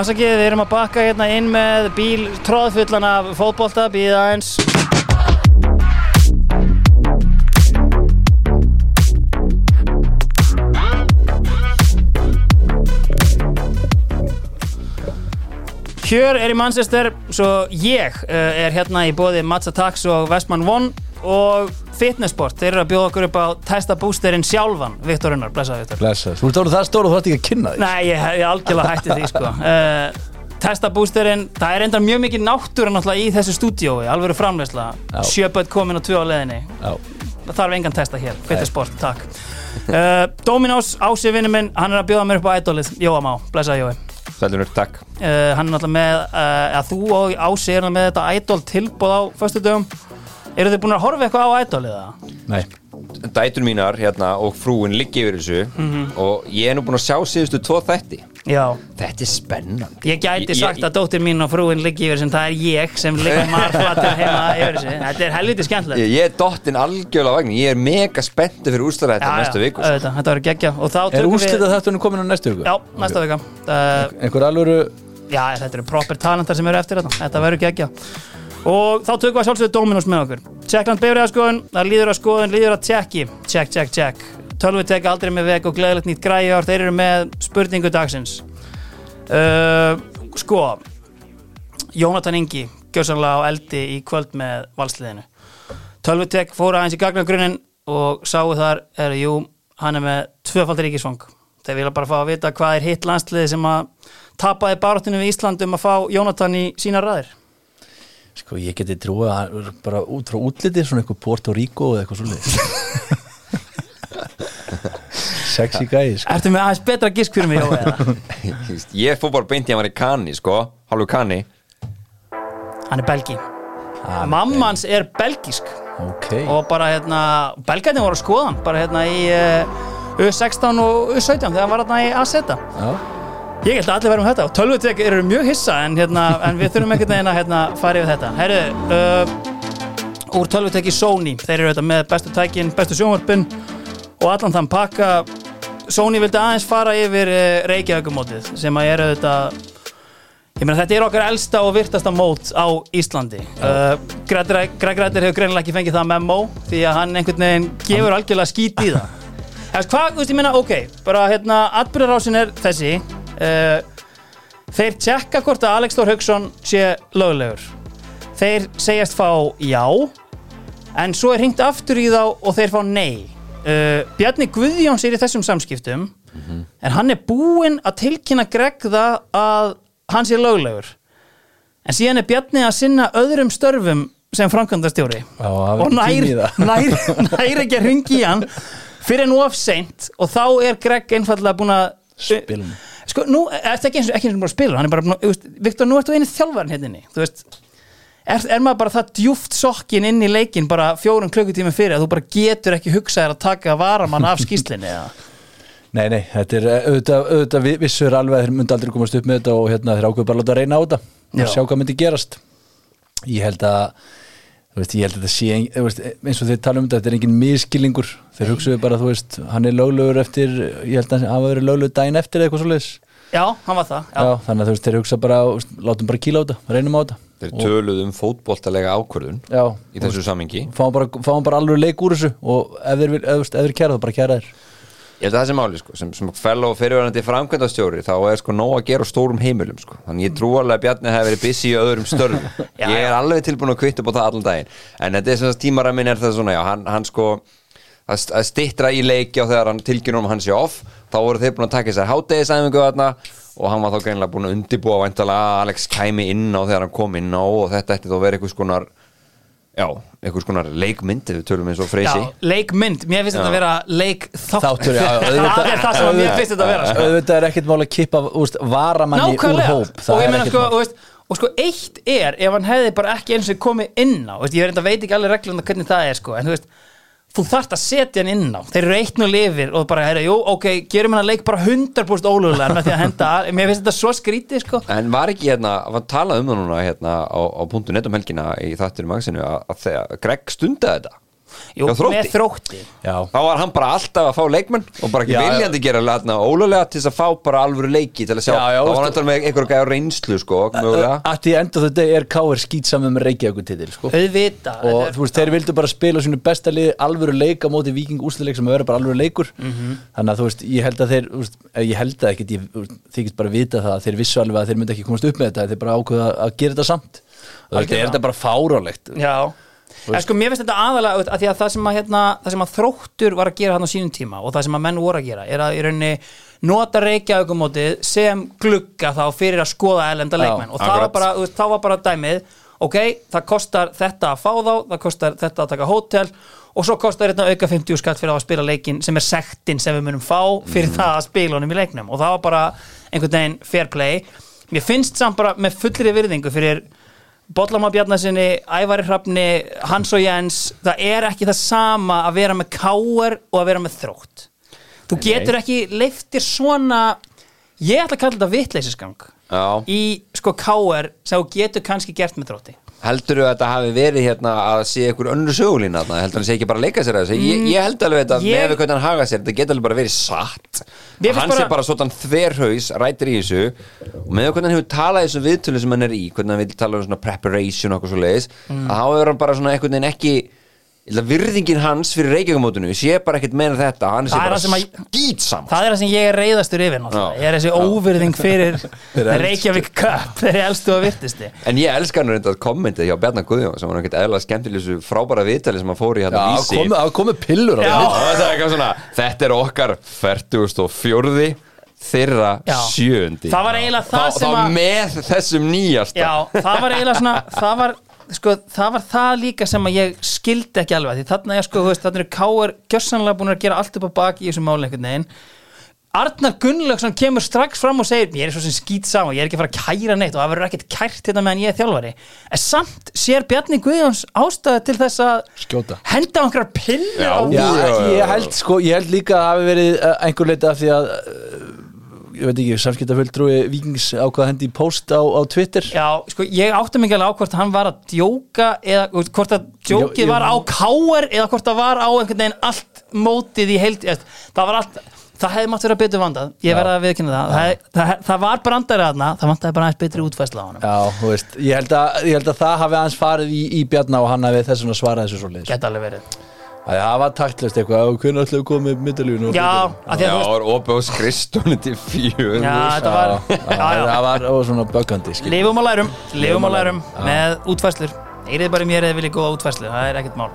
Afsakið, við erum að bakka hérna inn með bíl tróðfullan af fótbolta, býða aðeins. Hjör er í Manchester, svo ég uh, er hérna í bóði Mats Attacks og Westman One og Fitnessport. Þeir eru að bjóða okkur upp á testa bústerinn sjálfan, Viktorunar, blessaði Viktor. Blessast. Þú ert orðið það stór og þú ætti ekki að kynna þig. Nei, ég, ég algjörlega hætti því sko. uh, Testabústerinn, það er enda mjög mikið náttúra náttúrulega í þessu stúdíói, alvöru framleysla Já. Sjöböld komin og tvö á leiðinni Já. Það þarf engan testa hér, fyrir sport, takk uh, Dominós, Ási vinnu minn, hann er að bjóða mér upp á ædolið Jóa Má, blessaði Jói Sælunur, takk uh, Hann er náttúrulega með, uh, að þú og Ási er með þetta ædol tilbúð á föstudögum Eru þið búin að horfa eitthvað á ædolið það? Nei. Dætur mínar hérna og frúin liggi yfir þessu og ég er nú búin að sjá síðustu tvo þætti Já Þetta er spennandi Ég gæti Ég- sagt ég- að dóttir mín og frúin liggi yfir sem það er ég sem liggur marflatur heima yfir þessu. Þetta er helviti skemmtilegt. Ég, ég er dottinn algjörlega á vagn Ég er mega spenntu fyrir ústæða þetta næstu viku sko. auðvitað, þetta verður geggja. Og þá Er tökum úrslita þáttunum komin á næstu viku? Já, næsta vika. Uh, Einhver alvöru... já, þetta eru proper talentar sem eru eftir þetta. Þetta verður geggja. Og þá tökum við að sjálfsögðu Dominos með okkur. Tjekkland bifræðarskoðun, það líður að skoðun, líður að tjekki. Tjekk, tjekk, tjekk. Tölvi tek aldrei með veg og gleðilegt nýtt græjar. Þeir eru með spurningu dagsins. Uh, sko, Jónatan Ingi gjössanlega á eldi í kvöld með valsliðinu Tölvutek fór aðeins í gagnagrunin og sáu þar er jú, hann er með tvöfaldir ríkisfang þeir vilja bara fá að vita hvað er hitt landsliði sem að tapaði baráttinu við Ísland um að fá Jónatan í sína ræðir Sko, ég geti trúið að hann er bara út frá útliti svona eitthvað Porto Rico eða eitthvað svolítið. Sexy gæi, sko. Ertu með aðeins betra gisk fyrir mig, Jói? eða? Ég fór bara beint í að hann í kanni sko Hálfu kanni Hann er belgi Mamma hans er belgísk Ok. og bara hérna, belgætni voru að skoða hann bara hérna í uh, U16 og U17 þegar hann var hérna í Aseta Já. Ég held að allir verðum þetta og tölvutek eru mjög hissa en, hérna, en við þurfum ekkert að hérna, fara yfir þetta Herru, uh, úr tölvutek í Sony þeir eru þetta með bestu tækin, bestu sjónvarpin og allan þann pakka Sony vildi aðeins fara yfir uh, Reykjavíkumótið sem að eru þetta Ég meina þetta er okkar elsta og virtasta mót á Íslandi uh, Greg Rættir hefur greinilega ekki fengið það memo því að hann einhvern veginn gefur algjörlega skít í það Eða, veist, Hvað, þú veist, ég meina, ok bara hérna, atbyrðarásin er þessi uh, Þeir tjekka hvort að Alex Þór Hauksson sé löglegur Þeir segjast fá já en svo er hringt aftur í þá og þeir fá nei uh, Bjarni Guðjóns er í þessum samskiptum en hann er búinn að tilkynna Greg það að hann sé löglegur en síðan er Bjarni að sinna öðrum störfum sem framkvæmdastjóri Já, hann og hefur ekki nær, tími í það. nær, nær ekki að ringi í hann fyrir nú of seint og þá er Greg einfallega búinn að Spila hann. sko, nú, ertu ekki eins og ekki eins og bara að spila hann er bara, búinn að- þú veist, Viktor, nú ertu einu þjálfarinn hérna inni, þú veist er, er maður bara það djúft sokkin inn í leikin bara fjórum klukkutími fyrir að þú bara getur ekki hugsað þér að taka varamann af skýslinni eða? Nei, nei, þetta er eh, auðvitað, auðvitað vi- vissu er alveg að þeir myndi aldrei komast upp með þetta og hérna þeir ákveðu bara að láta að reyna á þetta Já. og sjá hvað myndi gerast ég held að þú veist, ég held að þetta sé ein- þú veist, eins og þeir tala um þetta, þetta er engin miskillingur þeir hugsuðu bara, þú veist, hann er löglegur eftir, ég held að hann hafa verið löglegur daginn eftir eða eitthvað svo leis já, hann var það já. Já, þannig að þú veist, þeir hugsa bara, þú veist, látum bara kíla á þetta, reynum á þetta Þeir töluðu um fótboltalega ákvörðun Já, í þessu samingi fáum bara, fáum bara alveg leik úr þessu og ef þeir, vil- ef, þú veist, ef þeir kæra þá bara kæra þeir Ég held að það sem máli sko sem, sem fellow fyrirverandi framkvæmdastjóri þá er sko nóg að gera á stórum heimilum sko Þannig ég trú alveg að Bjarni hefur verið busy í öðrum störfum Já, Ég er alveg tilbúin að kvitta bóta allan daginn En þetta er sem þess tímaramin er það svona já, hann, hann sko að að styttra í leiki og þegar hann tilgjörnum hans í off þá voru þeir búin að taka þessar hátegisæfingu þarna og hann var þá greinlega búin að undibúa væntalega að Alex kæmi inn á þegar hann kom inn á og þetta ætti þá verið einhvers konar já, einhvers konar leikmynd ef við tölum eins og já, freysi leikmynd, mér finnst þetta að vera leikþáttur Þáttur, já, auðvitað- það er það sem að mér finnst þetta að vera sko. auðvitað er ekkert mál að kippa úst, varamanni úr nákvæmlega hóp það og ég er meina ekkert sko, mál. og, veist, og sko eitt er ef hann hefði bara ekki eins og komið inn á veist, ég reynda veit ekki alveg reglum hvernig það er sko, en þú veist þú þarft að setja hann inn á þeir eru eitt nú lifir og bara herra, jú, ok, gerum hann að leik bara 100% ólögulega með því að henda mér finnst þetta svo skrítið sko En var ekki hérna, var um talað um það núna hérna á, á punktu netum helgina í þáttunum magasinu að, að þegar Greg stundaði þetta Jú, Já, Þrótti. með þrótti já, þá var hann bara alltaf að fá leikmenn og bara ekki Já, já. viljandi gera hérna, ólulega til þess að fá bara alvöru leiki til að sjá, Já, já, þá var veistu- hann með einhverja gæja reynslu sko, mögulega að því enda þetta er Káir skýt saman með Reykjavík titil sko. auðvita og þú veist, þeir vildu bara spila á sínu besta liði alvöru leik á móti viking úrstuleik sem verður bara alvöru leikur Mhm. þannig að þú veist, ég held að þeir þú veist, eh, ég held að ekkit, ég, þú veist, þið get bara vita það að þeir vissu alveg að þeir myndi ekki komast upp með þetta þeir bara ákveða að gera þetta samt og þetta er Algjörlega. þetta bara fárálegt Já En sko mér finnst þetta aðalega auðvitað, af því að það sem að, hérna, það sem að þróttur var að gera hann á sínum tíma og það sem að menn voru að gera er að í rauninni nota reykjaugumótið sem glugga þá fyrir að skoða elenda Já, leikmenn og það var, akkurat. bara, þú veist, það var bara dæmið ok, það kostar þetta að fá þá það kostar þetta að taka hótel og svo kostar þetta auka 50 skatt fyrir að spila leikin sem er sektin sem við munum fá fyrir það að spila honum í leiknum og það var bara einhvern veginn fair play mér finnst samt bara með fullri virðingu fyrir Bollama Bjarnasinni, Ævari Hrafni Hans og Jens, það er ekki það sama að vera með káar og að vera með þrótt þú getur ekki leiftir svona ég ætla að kalla þetta vitleisisgang Já. í sko káar sem þú getur kannski gert með þrótti heldur þau að þetta hafi verið hérna að sé ykkur önnur sögulína þarna, heldur hann sé ekki bara að leika sér að þessu, ég, ég held alveg þetta Mm, Ég- ég... með hvernig hann haga sér, þetta geta alveg bara verið satt Mér finnst hann sé bara- bara svona þverhaus, rætir í þessu og með hvernig hann hefur talað í þessum viðtölu sem hann er í, hvernig hann vil tala um svona preparation og okkur svo leiðis, Mm. að þá er hann bara svona einhvern veginn ekki ég held að virðingin hans fyrir reykjagumótinu sé bara ekkert meina þetta, hann sé Það er bara það sem að- skýtsam það er það sem ég er reyðastur yfir náttúrulega. Já. ég er þessi óvirðing fyrir Fyrir elst- Reykjavík Cup þegar ég elstu að virtisti En ég elska hann reynda að kommentið hjá Bjarnar Guðjón sem var ekkert eðla skemmtileg þessu frábæra viðtali sem hann fór í hérna Já, vísi komu, það komu pillur á Já. það. Og þetta er eitthvað svona, þetta er okkar 44. þeirra Já. sjöundi Það var eiginlega það Þá- sem þá að- með þessum nýjasta Já, það var eiginlega svona það var, sko, það var það líka sem að ég skildi ekki alveg því þarna er sko, þú veist, þarna eru K.R. gjörsanlega búin að gera allt upp á bak í þessum máli einhvern veginn Arnar Gunnlaugsson kemur strax fram og segir ég er svo sem skýt saman, ég er ekki að fara að kæra neitt og það verður ekkert kært hérna meðan ég er þjálfari en samt sér Bjarni Guðjóns ástæða til þess að Skjóta. henda á einhverjar pillur Já. á Já, Já, já, já. ég held sko, ég held líka að hafi verið eh, einhver leita af því að eh, ég veit ekki, samskiptafulltrúi Víkings ákvað hendi í post á, á Twitter Já, sko, ég átti mig ekki alveg á hvort hann var að djóka eða þú veist, hvort að djókið Jó, jó. var á káar eða hvort það var á einhvern veginn allt mótið í heild eða, það var allt, það hefði mátt vera betur vandað ég verða að viðkynna það. Það, það það var brandari aðna, það vantaði bara aðeins betri útfæsla á honum Já, þú veist, ég held að, ég held að það hafi aðeins farið í, í Bjarna og hann hafi þess vegna svarað þessu svo leiðis Gæti alveg verið Það var taktlust eitthvað, og hvernig ætlaðu að koma með myndalífinu Já, að því að Já, þú veist og opið á skristunni til fjör Já, þetta var, já, já, Það var og svona böggandi skil. lifum og lærum lifum og lærum með útfæslur Eyrið bara í mér eða viljið góða útfærslu, það er ekkert mál.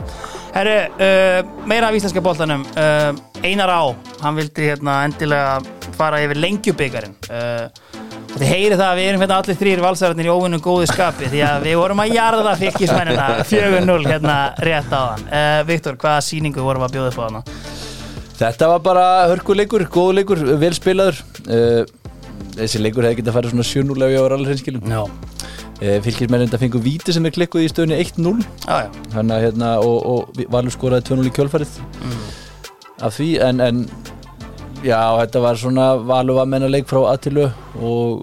Herru, uh, meira af íslenska boltanum. Uh, Einar Á, hann vildi hérna endilega fara yfir lengjubikarinn. Uh, og þið heyrið það að við erum hérna allir þrýr valsararnir í óvinnum góðu skapi því að við vorum að jarða fyrkismennina 4-0 hérna rétt áðan. Uh, Viktor, hvaða sýningu vorum við að bjóða upp á hana? Þetta var bara hörkuleikur, góð leikur, vel spilaður uh, Þessi leikur hefði getað farið svona 7-0 ef ég var alveg hreinskilum Já. uh, Fylgismenn þetta fengu víti sem er klikkuð í stöðunni 1-0 Já, já. Þannig að hérna, og, og Valur skoraði 2-0 í kjölfarið Af því, en, en Já, þetta var svona Valur var mennaleik frá Atilu og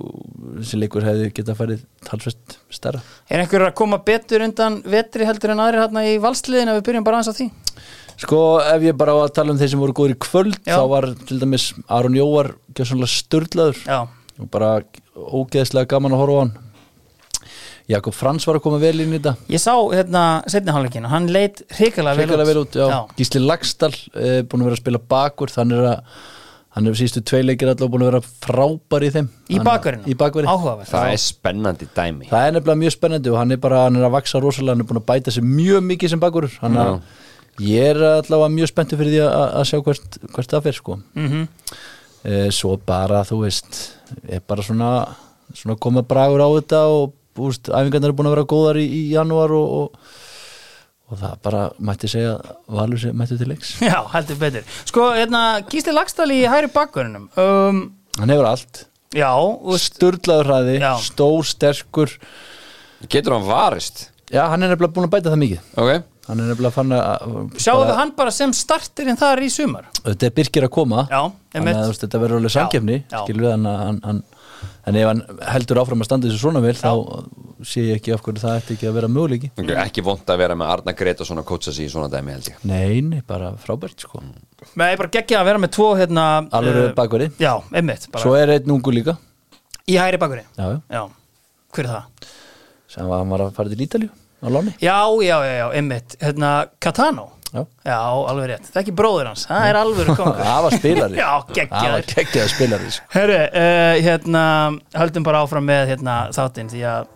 þessi leikur hefði getað farið talsvest stærra Er einhverjur að koma betur undan vetri heldur en aðrir hérna í valsliðin ef við byrjum bara aðeins á því? Sko, ef ég bara á að tala um þeir sem voru góður í kvöld Já. þá var til dæmis Aron Jóar gjössanlega störlaður Já. og bara ógeðslega gaman að horfa á hann Jakob Frans var að koma vel inn í þetta Ég sá hérna setni hálfleikinu, hann leit hrikalega vel út. Hrikalega vel út, já. Gísli Lagstall uh, búin að vera að spila bakur þannig er að hann er sístu tveileikir allavega búin að vera frábær í þeim Í Hann- bakverðinu? í bakverði. Áhugaverð. Það er spennandi dæmi Það er nefnilega mjög spennandi og hann er bara hann er að vaksa rosalega, hann er búin að bæta sig mjög mikið sem bakur hann að ég er allavega mjög spenntu fyrir því að- að að sjá hvert, hvert það fyrir sko mm Mhm. svo bara þú veist er bara svona, svona koma bragur á þetta og úst, æfingarnar er búin að vera góðar í, í janúar og, og og það bara mætti segja að Valur sé- mætti til leiks Já, heldur betur. Sko, hérna, Gísli Lagstall í hæri bakverðinum. Um, hann hefur allt, já, þú veist, sturlaður hraði Já. stór, sterkur Getur hann varist? já, hann er nefnilega búin að bæta það mikið Ok hann er nefnilega fann að sjáum við hann bara sem starterinn þar í sumar. þetta er Birkir að koma Já, þannig að þú einmitt. veist, þetta verður alveg samkefni Já, já. skilur við hann að hann, hann en ef hann heldur áfram að standa þessu svona vel þá sé ég ekki af hverju það ætti ekki að vera möguleiki Ok, Ekki vond að vera með Arna Greta svona kótsa sig í svona dæmi held ég Nei, nei, bara frábært sko Nei, ég bara geggja að vera með tvo hérna, Alveg Mm. eh, bakverði Já, einmitt, bara Svo er einn ungu líka í hægri bakverði Já, já. Já, hver er það? sem var, hann var að fara til Ítalju á láni Já, já, já, já, einmitt Hérna, Katano Já. Já, alveg rétt, það er ekki bróður hans Það er alveg kongur Það var spilari Já, Það var geggjaður geggjað spilari sko. Herru, uh, hérna Höldum bara áfram með hérna, þáttinn Því að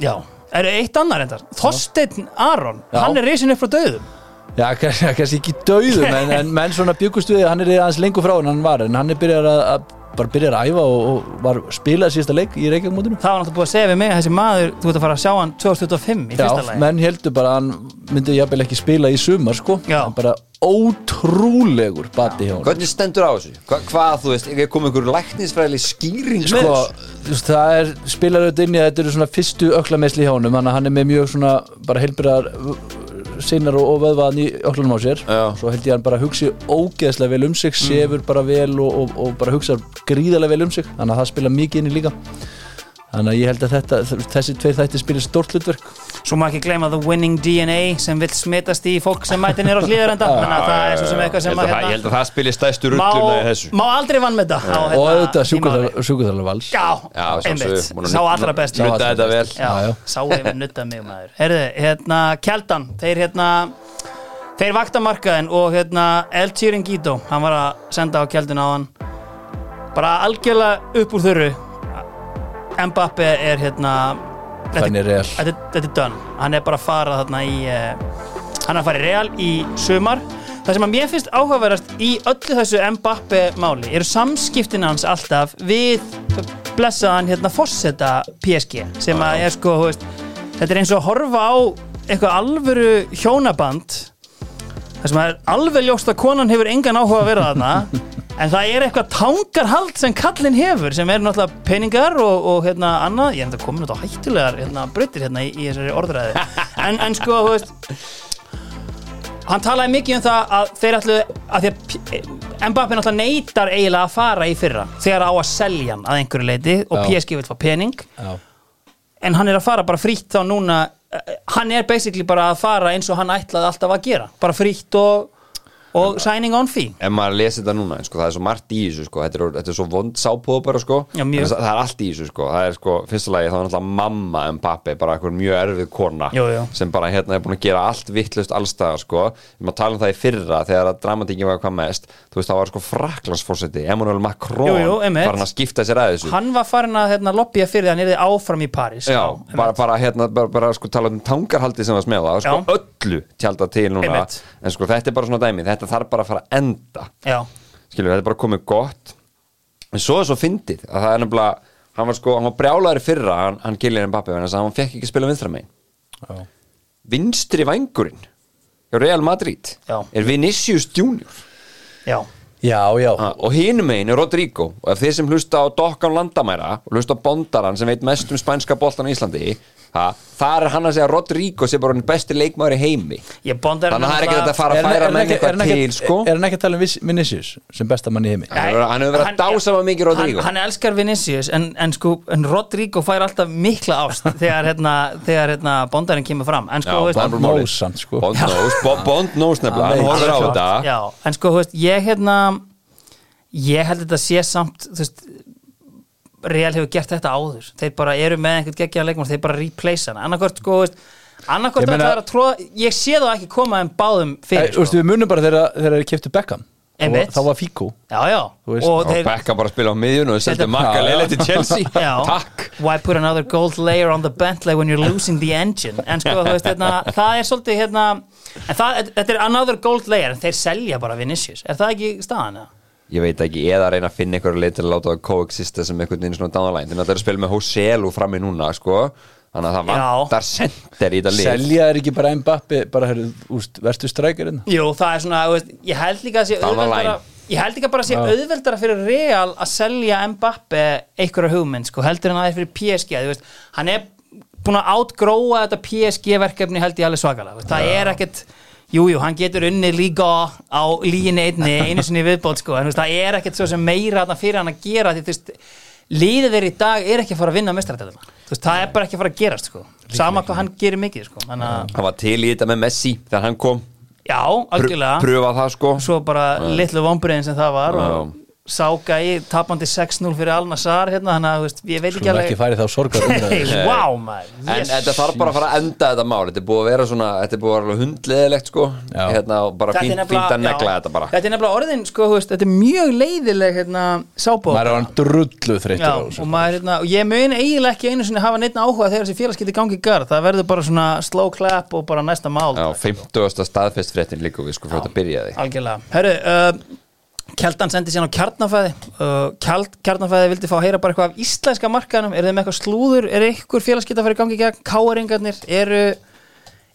Já, er eitt annar endar Þorsteinn Aron, Já. hann er risin upp frá döðum Já, kannski, kannski ekki döðum en, en menn svona byggustu við, hann er aðeins lengur frá en hann var, en hann er byrjar að, að bara byrjar að æfa og, og var spilað síðasta leik í reykjagmótinu Það var náttúrulega búið að segja við mig að Þessi maður, þú ert að fara að sjá hann 2025 í Já, fyrsta lagi menn heldur bara að hann myndi jafnvel ekki spila í sumar sko, Já. hann bara ótrúlegur bati hjá hann Hvernig stendur á þessu? Hva, hvað, þú veist, er komið einhver læknisfræðileg skýring sko, sko? þú veist, það er spilar auðvitað inn í að þetta eru svona fyrstu öklamesli hjá honum, þannig að hann er með mjög svona bara heilbyrðar sinnar og, og vöðvaðan í öklanum á sér Já. svo held ég að hann bara hugsi ógeðslega vel um sig sefur bara vel og, og, og bara hugsa gríðarlega vel um sig, þannig að það spila mikið inn í líka þannig að ég held að þetta, þessi tveir þætti spilir stórt hlutverk Svo má ekki gleyma The Winning DNA sem vill smitast í fólk sem mætin er á hlýðarenda Þannig að það er svo sem eitthvað Ég sem held að að hérna, það- ég held að það spilir stæstu rulluna í má, þessu má aldrei vann með þetta og auðvitað sjúkvæðarlega vals Já, Já, einmitt, sjálfsögðu, hún er sá nudd- allra best Sá nuddaði allra þetta best. vel Já, Já, já. sá hefur nuttað mig maður Herðu, hérna, Kjeldan, þeir hérna Þeir vakta markaðin og hérna El Tírin Gító, hann var að senda á Kjeldun á hann Bara algjörlega upp úr þurru Mbappe er hérna þetta- Þannig er real þetta, þetta er done hann er bara að fara þarna í uh, hann er að fara í Real í sumar það sem að mér finnst áhugaverðast í öllu þessu Mbappe máli eru samskiptin hans alltaf við blessaðan hérna fosseta PSG sem að er sko þú veist, þetta er eins og að horfa á eitthvað alvöru hjónaband þar sem að er alveg ljóst að konan hefur engan áhuga að vera þarna en það er eitthvað tangarhald sem kallinn hefur sem er náttúrulega peningar og, og hérna annað, ég er enda komin út á hættulegar hérna breytir hérna í, í þessari orðræði en, en sko, þú veist hann talaði mikið um það að þeir ætlu að því að P- Mbappé náttúrulega neytar eiginlega að fara í fyrra þegar á að selja hann að einhverju leiti og Já. PSG vil fá pening Já. en hann er að fara bara frítt þá núna eh, hann er basically bara að fara eins og hann ætlaði alltaf að gera bara frítt og, og signing on fee Ef maður lesi þetta núna, sko, það er svo margt í þessu sko. þetta, er, þetta er svo vond sápóð bara sko. Já, mjög. En það, það er allt í þessu sko. það er sko, fyrsta lagi þá er náttúrulega mamma en pappi, bara einhver mjög erfið kona Jú, jú. sem bara hérna er búin að gera allt vittlust allstaðar sko. við maður tala um það í fyrra þegar að dramatíkin var hvað mest þú veist það var sko fraklandsfórseti Emmanuel Macron Jú, jú, einmitt. farin að skipta sér að þessu hann var farin að hérna, lobbya fyrir því að hann er áfram í Paris Já, bara, bara hérna, bara, bara sko tala um tangarhaldi sem var smjáða, sko Já. öllu tjálta til núna, Einmitt. en sko þetta er bara svona dæmi, þetta þarf bara að fara að enda Já. skilur, þetta er bara komið gott en svo er svo fyndið að það er nefnilega hann var sko, hann var brjálæri fyrra hann, hann Kylian Mbappe, þannig að hann fekk ekki að spila vinstra megin Já. vinstri vængurinn hjá Real Madrid Já. er Vinicius Junior Já. Já, já, Ah, og hinum megin er Rodrigo og ef þeir sem hlusta á Dokkan Landamæra og hlusta á Bondaran sem veit mest um spænska boltan á Íslandi ha, þar er hann að segja að Rodrigo sem bara hann besti leikmaður í heimi Ég bondar þannig að það er ekki þetta að fara Er að hann- er færa hann menn ekki- er hann eitthvað ekki- til sko Er hann ekki að tala um Vis- Vinicius sem besta mann í heimi? Hann hefur- hann hefur verið að dásama mikið Rodrigo. Hann, hann elskar Vinicius en, en, sko, en Rodrigo fær alltaf mikla ást þegar, hérna, þegar hérna, bondarinn kemur fram en sko, Já, þú veist, Bond- Hann málið. knows hann, sko. Bond knows, Bo- Bond knows nefnilega Hann veit. hann horfir á þetta Já, en sko, þú veist, ég hérna ég held þetta sé samt þú veist, Real hefur gert þetta áður þeir bara eru með einhvern geggjaðan leikmann þeir bara replace hana, annarkvort sko, þú veist annarkvort Ég er meina- það að tróða ég sé það ekki koma en báðum Ei, fyrir sko. sko. Við munum bara þegar þegar þeir keftu Beckham Þá var- Einmitt. Þá var Fico já, já, Þú veist, og og þeir Beckham bara að spila á miðjun og seldi Þetta- makka Já, leila til Chelsea já, takk why put another gold layer on the Bentley when you're losing the engine en sko, þú veist, hérna, það er svolítið hérna, en það, þetta er another gold layer en þeir selja bara Vinicius, er það ekki staðan? eða? ég veit ekki, eða að reyna að finna einhverja leið til að láta það coexista sem einhvern veginn svona downline þannig að það er að spila með Hoselu fram í núna sko. þannig að það Já. vantar sender í þetta lið Selja er ekki bara Mbappi bara heru, úst, verstu strækirinn Jú, það er svona, þú veist, ég held líka að sé Down the auðveldara line. Ég held líka bara að sé auðveldara fyrir Real að selja Mbappe einhverja hugmynd, sko, heldur en aðeins fyrir PSG, þú veist, hann er búin að átgróa þetta PSG verkefni held ég alveg svakalega, þú veist, það er ekkert Jú, jú, hann getur unnið líka á líginni einni, einu sinni í viðbót, sko, en þú veist, það er ekkert svo sem meira þarna fyrir hann að gera því, þú veist, liðið þeir í dag er ekki að fara að vinna mestratæðum þú veist, það er bara ekki að fara að gerast sko. sama hvað hann gerir mikið sko. þannig að, hann var til í þetta með Messi þegar hann kom, já, pr algjörlega pröfa það sko svo bara litlu vombriðin sem það var og Já. sáka í tapandi 6-0 fyrir Al-Nassar hérna, þannig að þú veist, ég veit ekki Skulum alveg ekki farið þá sorgar hey, wow, maður, En yes. þetta þarf bara að fara að enda þetta mál Þetta er búið að vera svona, þetta er búið að vera hundleðilegt sko Já. Hérna og bara Þetta er fínt, nefnilega- fínt að negla já, þetta bara Þetta er nefnilega orðin, sko, þú veist, þetta er mjög leiðileg hérna, sábóð Maður er hann drullu þreyttur Já, á og, þessu maður, hérna, og ég mun eiginlega ekki einu sinni hafa neitt áhuga þegar þessi félags geti gangi í garð það verður bara svona slow clap og bara næsta mál Já, 50. staðfest fréttin líka við sko frá þetta byrjaði algjörlega Herru, uh, Kjaldan sendi síðan á kjarnafæði uh, Kjald, Kjarnafæði vildi fá að heyra bara eitthvað af íslenska markanum eru þeim eitthvað slúður, er eitthvað félags geta farið í gangi í gegn káeringarnir, eru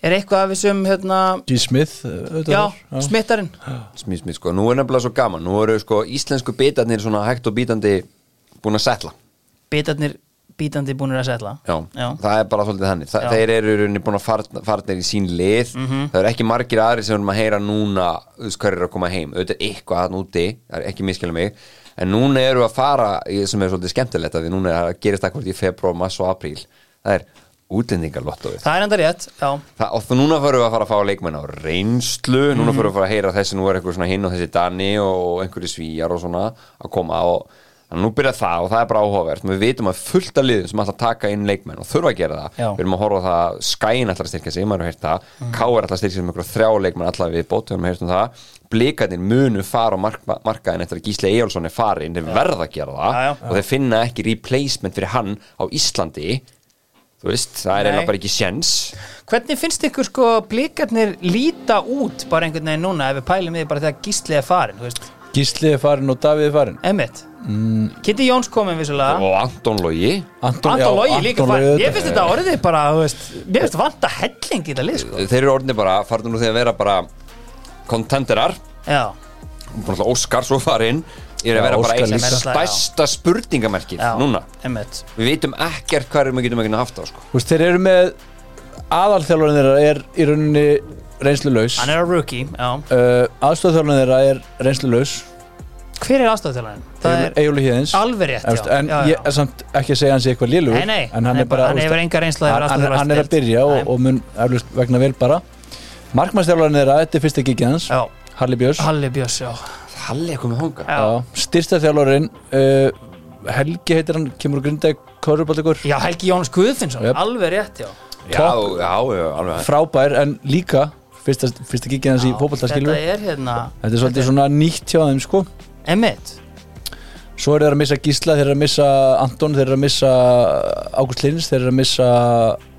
er eitthvað af þessum hérna, G. Smith eh, auðvitað já, var, já. smittarinn Smýr, smýr, sko, nú er nefnilega svo gaman Nú eru sko íslensku bitarnir svona hægt og bítandi búin að setla bitarnir bítandi búinir að setla Já, það er bara svolítið þannig Þa, Já. Þeir eru í rauninni búin að farna, farnir í sín lið Það eru ekki margir aðri sem erum að heyra núna þú veist hverju er að koma heim auðvitað er eitthvað hann úti, það er ekki miskilum mig en núna eru að fara, í- sem er svolítið skemmtilegt að því núna er að gerist akkvart í februar, mars og apríl það er útlendingalottóið það er enda rétt, já Það, og þú núna förum við að fara að fá leikmenn á reynslu, núna förum við að fara að heyra þessi nú er eitthvað svona hinn og þessi danni og einhverju svíjar og svona að koma og þannig að nú byrja það og það er bara áhugavert við vitum að fullt af liðum sem ætla að taka inn leikmenn og þurfa að gera það, Já. við erum að horfa á það að skæin ætla að styrkja sig, maður hefur heyrt það mm. Káir ætla að styrkja sig með einhverju þrjá leikmenn alltaf við bóttum heyrt um það, blikarnir munu fara á mark, markaðin eftir að Gísli Eyjálsson er farin, þeir verða að gera það Já, já. og þeir finna ekki replacement fyrir hann á Íslandi þú veist, það er Nei. eiginlega bara ekki sjens Hvernig finnst ykkur sko blikarnir líta út bara einhvern veginn núna ef við pælum við bara þegar gíslið er farin, þú veist, Gísli er farin og Davíð er farin emmitt mm. Kitty Jóns kominn vissulega og Anton Logi Anton, já, Anton Lógi líka Anton farin, Logi ég auðvitað. finnst þetta orðið bara, þú veist, mér finnst vanta helling í þetta lið sko, þeir eru orðinni bara, farnir nú þegar að vera bara kontenderar já, Óskar svo farinn er Já, að vera bara Óskar eitt líka. stærsta spurningamerkið já núna emmitt, við veitum ekkert hvað erum við getum ekki haft á sko. Þú veist, þeir eru með aðalþjálfarinn þeirra er í rauninni reynslulaus hann er að rookie, já uh, aðstofþjálfarinn þeirra er reynslulaus Hver er aðstofþjálaginn? Það er Egil Híðins alveg rétt, já, en já, já. ég er samt ekki að segja hans eitthvað lélugur Nei, nei, en hann er bara hann þú veist, hefur enga reynslu hann, hann, hann er að byrja og, og mun eflust vegna vel bara markmannstjálfarinn þeirra, þetta er fyrsta gigið hans Já, Harli Björns Halli Björs, já, Halli er komið hónga já. styrstaþjálfarinn uh, Helgi heitir hann, kemur og grindaði Körubaldikur, Já, Helgi Jónas Guðfinnsson, Jöp. alveg rétt, já já, já, já, alveg frábær en líka fyrsta, fyrsta gigið hans í Já, fótboltaskilur Þetta er hérna þetta er svolítið svona nýtt hjá þeim sko Emmett, Svo eru þeir að missa Gísla, þeir eru að missa Anton, þeir eru að missa Ágúst Lins, þeir eru að missa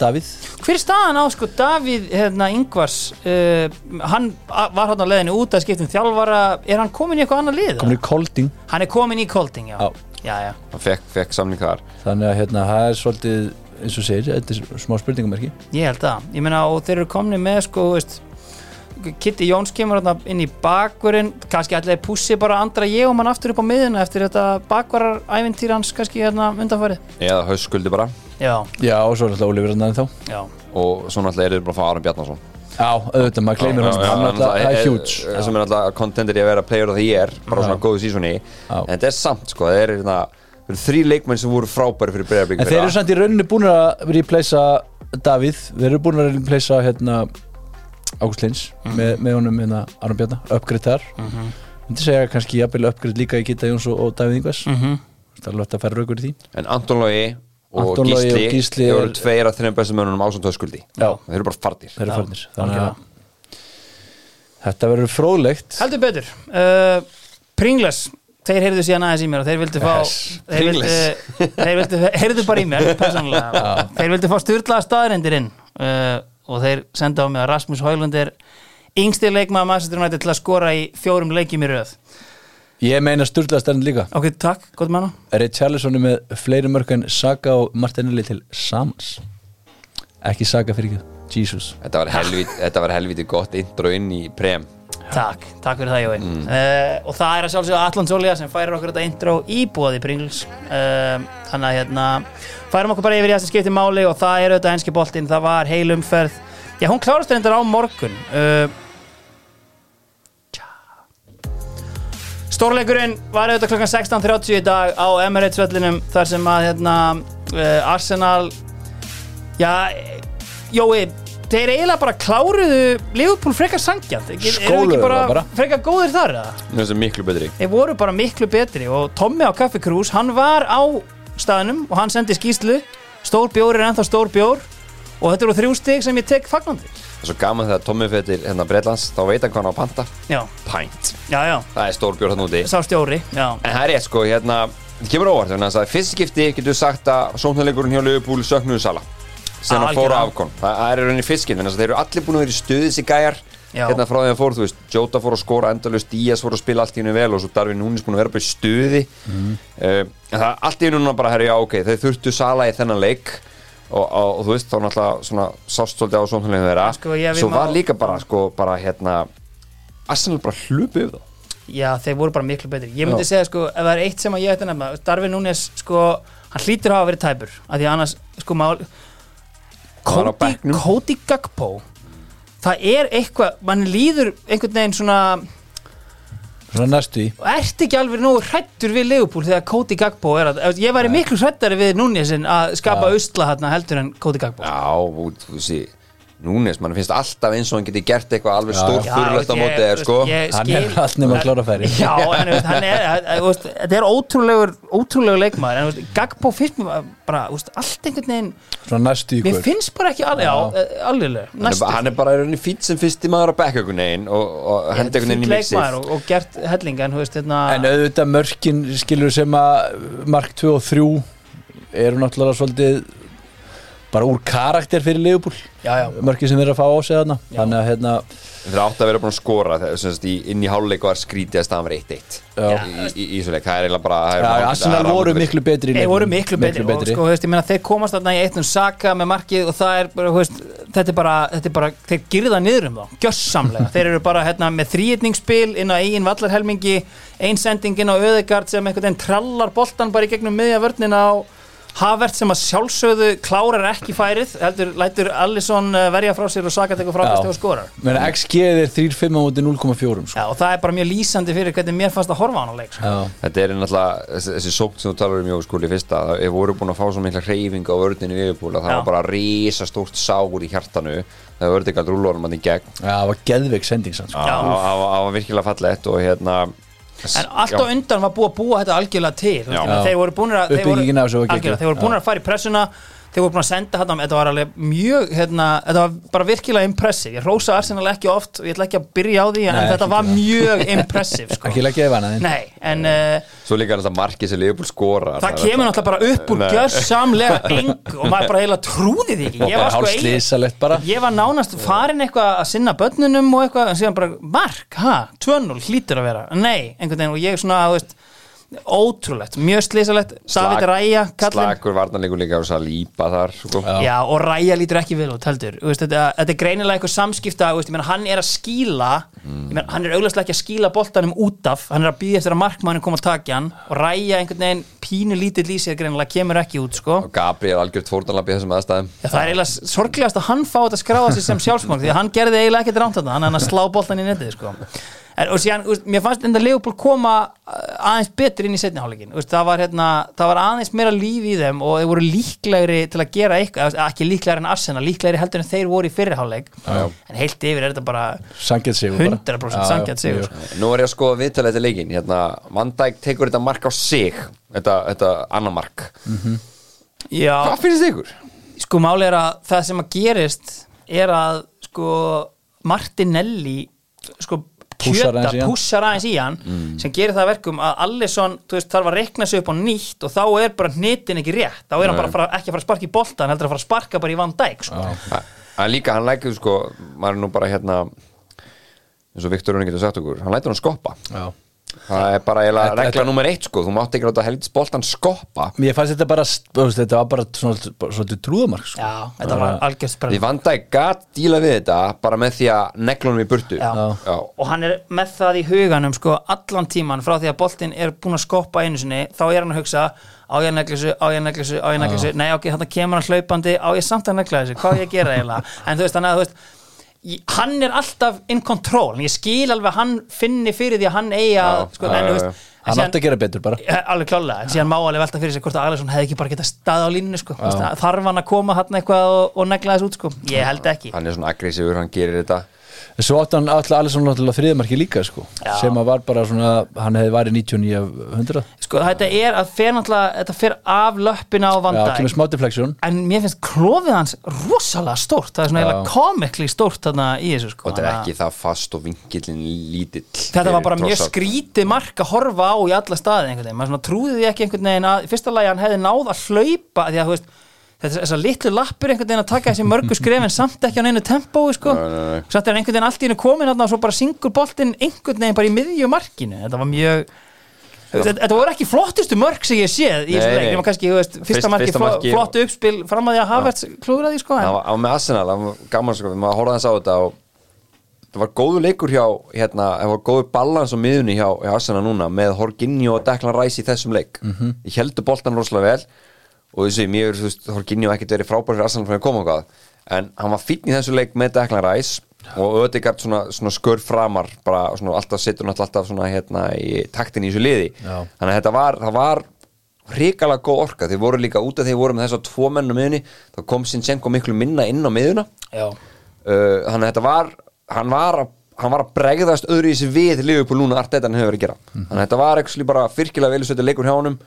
Davíð. hver er staðan á sko Davíð hérna Ingvars uh, Hann a- var hérna á leiðinu út að skiptum þjálfara Er hann komin í eitthvað annað lið? Komin í Kolding. Hann er komin í Kolding, já Já. Já, já, hann fekk, fekk samling þar Þannig að hérna, það er svolítið, eins og segir, þetta er smá spurningamerki. ég held það Ég meina, og þeir eru komni með sko, þú veist Kitty Jóns kemur hérna inn í bakvörinn kannski allir pússi bara andra ég og mann aftur upp á miðuna eftir þetta bakvarar ævintýr hans kannski hérna undanfarið eða hauskuldi bara Já, Já, og svo er alltaf Ólífur hann þá. já, og svona alltaf eru þeir bara að fá Aron Bjarnason Já, auðvitað, maður gleymir hann, hann alltaf, eh, það er hjúts. Það sem er alltaf contender í að vera player of the year bara svona góðu sísoni en þetta er samt sko, það eru hérna- það eru þrý leikmenn sem voru frábæri fyrir breyðarblik En þeir eru samt í rauninni búin að replacea Davíð, þeir eru búin að replacea hérna Ágúst Lins með, með honum hérna Aron Bjarnar, uppgrið þar. Mm -hmm. Myndi segja kannski jafnvel uppgrið líka í Gitta Jóns og, og Davíð Ingvars. Mm -hmm. Það er alveg hægt að færa raukur í því. En Anton Lógi og Anton Logi Gísli, og Gísli Þeir er- eru tveir af þreim bestu mönnunum ásand höskuldi Já. Þeir eru bara fardir þeir eru Já, farnir þannig að þetta verður fróðlegt Heldur betur uh, Pringles, þeir heyrðu síðan aðeins í mér og þeir vildu fá Yes. þeir, vildu, þeir vildu, heyrðu bara í mér persónulega, þeir vildu fá styrlaða staðarindir inn uh, og þeir senda á mig að Rasmus Hólund er yngsti leikmaður Manchester United til að skora í fjórum leikjum í röð ég meina sturðlast enn líka Ok, takk, gott manna Richarlison er með fleiri mörg en Saga og Martinelli til samans ekki Saga fyrir ekki Jesus Þetta var helviti, þetta var helviti gott intro inn í prem Takk, takk fyrir það Jói Mm. uh, Og það er að sjálfsögða Allan Solja sem færir okkur þetta intro í búaði Pringles uh, Þannig að hérna færum okkur bara yfir í það sem skiptir máli og það er auðvitað enski boltinn, það var heil umferð Já, hún klárast reyndar á morgun uh, tja. Stórleikurinn var auðvitað klokkan 16.30 í dag á Emirates vellinum þar sem að hérna, uh, Arsenal já, Jói þeir eiginlega bara kláruðu Liverpool frekar sangjant Skóluðu ekki það bara, bara. frekar góðir þar eða? Þessi er miklu betri þeir voru bara miklu betri og Tommy á Café Cruise, hann var á staðnum og hann sendi skýslu stór bjór er ennþá stór bjór og þetta eru þrjú stig sem ég tek fagnandi Það er svo gaman þegar Tommy fyrir til hérna Breitlands Þá veit hann hvað hann á að panta já, Pint já, já, Það er stór bjór hann úti sá stjóri já, En það er rétt sko, hérna Það kemur á óvart þannig að það er fyrst skipti getur sagt að Sóknarleikurinn hjá Liverpool söknuðu sala Sen að fóra Algjörlega. afkon Það það er í rauninni fyrst skipti Þannig að þeir eru allir búin að vera í stuði þessi gæjar Já. Hérna frá því að fór, þú veist Jota fór að skora endalust Díaz fór að spila allt í hennu vel Og svo Darvin Núnis búin að vera bara í stuði mm. Mhm. Það er allt í hennu núna bara herri, já, ok Þeir þurftu sala í þennan leik Og, og, og þú veist, þá náttúrulega svona, sást svolítið á sóknarleikurinn þeirra Sko, ég- við Svo má- var líka bara, sko, bara hérna Arsenal bara hlupu yfir þá já, þeir voru bara miklu betri ég myndi Já. segja sko, ef það er eitt sem að ég ætti að nefna Darvin Núnes, sko, hann hlýtur að hafa verið tæpur, af því að annars, sko, mál Hann var á Cody, bekknum. Cody Gagpo það er eitthvað, mann líður einhvern veginn svona svona næstu í ert ekki alveg nógu hrættur við Leopold þegar Cody Gagbo er að ég væri miklu hrættari við Núnesinn að skapa usla hérna heldur en Cody Gagbo Já, og þú sé Núnes, mann finnst alltaf eins og hann geti gert eitthvað alveg stór Já, fyrirlegt á ég- móti þér, veist, sko ég Hann skil- er allt nema að klára færi. Já, en veist, hann er, hann- þú veist, þetta er ótrúlegur ótrúlegur leikmaður, en veist, Gagbo finnst mér bara, veist, allt einhvern veginn svona næstu í mér hver finnst bara ekki alveg, já, eh, alveg Hann er, næstu, bara- hann er bara í rauninni fýtt sem fyrsti maður á bekkakunin og, og Ég, hendi einhvern veginn í fínn leikmaður mixið eh, og, og gert helling, en þú veist, hérna en auðvitað mörkin skilur sem að mark 2 og 3 eru náttúrulega svolítið bara úr karakter fyrir Leopold já, já, mörkin sem þeir eru að fá á sig þarna Já. þannig að hérna Það átti að vera búin að skora þegar, sem sagt, í, inn í háluleik var skrítið að staðan var 1-1 Já. í, í, í þessu leik, það er eiginlega bara það er ja, bara- það er Arsenal voru ágætis. miklu betri í Þeir leiknum. voru miklu betri, og sko, þú veist, ég meina, þeir komast þarna í eitt um Saka með markið og það er bara, þú veist, þetta er bara, þetta er bara þeir girða niður um þá, gjössamlega þeir eru bara hérna, með þrýetningsspil inn á eigin vallarhelmingi, einsendingin á Öðegard sem einhvern veginn trallar boltan bara í gegnum miðja vörnina á Havert sem að sjálfsögðu klárar ekki færið heldur, lætur Alisson eh, verja frá sér og Saka tekur Já. frákast og skorar Meina, XG er 3-5 á móti 0,4 sko. Já, og það er bara mjög lýsandi fyrir hvernig mér fannst að horfa á hann á leik sko. Já. Þetta er náttúrulega, þessi, þessi sókn sem þú talar um Jói skúli fyrst að ef voru búin að fá svo mikla hreyfinga á vördinu í yfirbúla það Já. var bara risa stórt sár í hjartanu þegar vördi galt rúlórum hann í gegn Já, það var geðveik sending sann, sko. Já, það var- það var virkilega fallegt og hérna En allt á undan var búið að búa þetta algjörlega til þú veist, Já. ég meina, Þeir voru búin að þeir voru- Uppbyggingin af þessu var algjörlega, geggjuð. Þeir voru búin að fara í pressuna Þeir voru búin að senda þetta Þetta var alveg mjög hérna, Þetta var bara virkilega impressiv Ég rósa Arsenal ekki oft og ég ætla ekki að byrja á því En Nei, þetta ekki var gera. mjög impressiv sko. ekki leggja ef hana þinn Nei, en uh, Svo líka alltaf markið sem Leopold skorar það kemur náttúrulega bara upp úr Nei. gjörsamlega engu og maður bara heila trúði því ekki Ég var sko eiginlega- hálslýsalegt bara Ég var nánast farin eitthvað að sinna börnunum og eitthvað, en síðan bara, mark, ha, 2-0 hlýtur að vera, nei, einhvern veginn og ég svona, þú veist, ótrúlegt mjög slísalegt, Slag- David Ræja kallinn, Slakur varnarleikur líka og svo að lípa þar sko. Já. já, og Ræja lítur ekki vel út heldur, Þú veist, þetta, þetta er greinilega eitthvað samskipta, þú veist, ég meina, hann er að skýla ég meina, hann er auglastlega ekki að skýla boltanum út af, hann er að býða eftir að markmannin kom að taka hann og Ræja einhvern veginn pínu lítill í sér greinilega kemur ekki út, sko Og Gabriel algjört fórnarlampi í þessum aðstæðum Já, það er eiginlega sorglegast að hann fá þetta að skráða sig sem sjálfsmang því að hann gerði eiginlega ekkert rámt þetta hann hann að slá boltan í netið sko. en, og síðan, úst, mér fannst enda Leopold koma uh, aðeins betur inn í setni hálfleikin Úst, það, var, hérna, það var aðeins meira líf í þeim og þeir voru líklegri til að gera eitthvað eða, ekki líklegri en Arsenal, líklegri heldur en þeir voru í fyrri hálfleik en heilt yfir er þetta bara Sangjætt sigur bara. 100% Já, sangjart já, sigur mjög. sko. Nú er ég að skoða viðtalið þetta leikin hérna, Van Dijk tekur þetta mark á sig Þetta, þetta annar mark Já, Hvað finnst þið ykkur? sko máli er að það sem að gerist er að sko Martinelli sko kjöta, Pússar aðeins í hann. Mm. pússar aðeins í hann sem gerir það að verkum að Allison þú veist, þarf að rekna sig upp á nýtt og þá er bara hnitin ekki rétt, þá er hann bara að fara, ekki að fara að sparka í bolta, hann heldur að fara að sparka bara í Van Dijk sko. En líka hann lækir sko maður er nú bara hérna eins og Viktor Rönning getur sagt okkur hann lætur hann skoppa Já. Það er bara eiginlega Þetta- regla þetta- nummer eitt sko þú mátt ekki láta helgits boltan skoppa Mér fannst þetta bara, þú veist, þetta var bara svona, bara svolítið trúðamark sko. já, þetta var algjörst Því bara Van Dijk gat díla við þetta bara með því að neglunum í burtu Já. Já. og hann er með það í huganum sko allan tíman frá því að boltinn er búin að skoppa einu sinni, þá er hann að hugsa á ég að negla þessu, á ég að negla þessu, á ég að negla þessu nei ok, þannig kemur hann hlaupandi, á ég samt að negla þessu hvað á ég að gera eiginlega, en þú veist þannig að þú veist, í- hann er alltaf in control, en ég skil alveg að hann finni fyrir því að hann eigi að Já, sko, já, en, þú já, veist, hann síðan- átti að gera betur bara Ja, alveg klálega, en síðan má alveg velta fyrir sig hvort að Alisson hefði ekki bara getað stað á línunni sko. Þú veist, að þarf hann að koma hann eitthvað og, og negla þess út sko. ég held ekki hann er svona aggressífur, hann gerir þetta Svo átti hann allir allir svona náttúrulega þriðmarki líka sko, Já. sem að var bara svona hann hefði værið 99 af 100 sko, þetta er að fer náttúrulega þetta fer af löppina á Já, vandæk kemur smá defleksjón en mér finnst klófið hans rosalega stórt það er svona Já. eiginlega komikli stórt þarna í þessu sko. og þetta er Þannig að- ekki það fast og vingillin lítill þetta var fyrir bara mjög Trossard. skrítið mark að horfa á í alla staði einhvern veginn, maður svona trúði því ekki einhvern veginn að í fyrsta lagi hann hefði náð að hlaupa því að þú veist, þess, þessar litlu lappir einhvern veginn að taka þessi mörgu skref en samt ekki á neinu tempói sko, Nei, nei, nei. samt er hann einhvern veginn allt í hennu komin þarna og svo bara syngur boltinn einhvern veginn bara í miðju markinu, þetta var mjög Þetta, þetta voru ekki flottustu mörk sem ég séð í þessu Nei, leik, nei. nema kannski, þú veist, fyrsta Fyrst- marki, fyrsta flo, marki- flottu uppspil fram að því að Havertz klúðraði, sko, hann en, var, hann var með Arsenal, hann var gaman sko maður horfði hans á þetta og það var góðu leikur hjá hérna, það var góðu balans á miðunni hjá, hjá Arsenal núna með Horginjó og Declan Rice í þessum leik mm -hmm. ég heldur boltan rosalega vel og þessu mér er þú veist, Horginjó ekkert verið frábær fyrir Arsenal fyrir að koma og hvað en hann var fínn í þessu leik með Declan Rice og Ödegard svona, svona skör framar bara svona alltaf sittur náttúrulega alltaf svona hérna í taktin í þessu liði Já. þannig að þetta var, það var hrikalega góð orka, þeir voru líka út af þeir voru með þess að tvo menn á miðunni þá kom Sinchenko miklu minna inn á miðuna já, uh, þannig að þetta var hann var að, hann var að bregðast öðru í þessi við Liverpool núna Arteta hann hefur verið að gera Mhm. þannig að þetta var ekki bara virkilega velisötu leikur hjá honum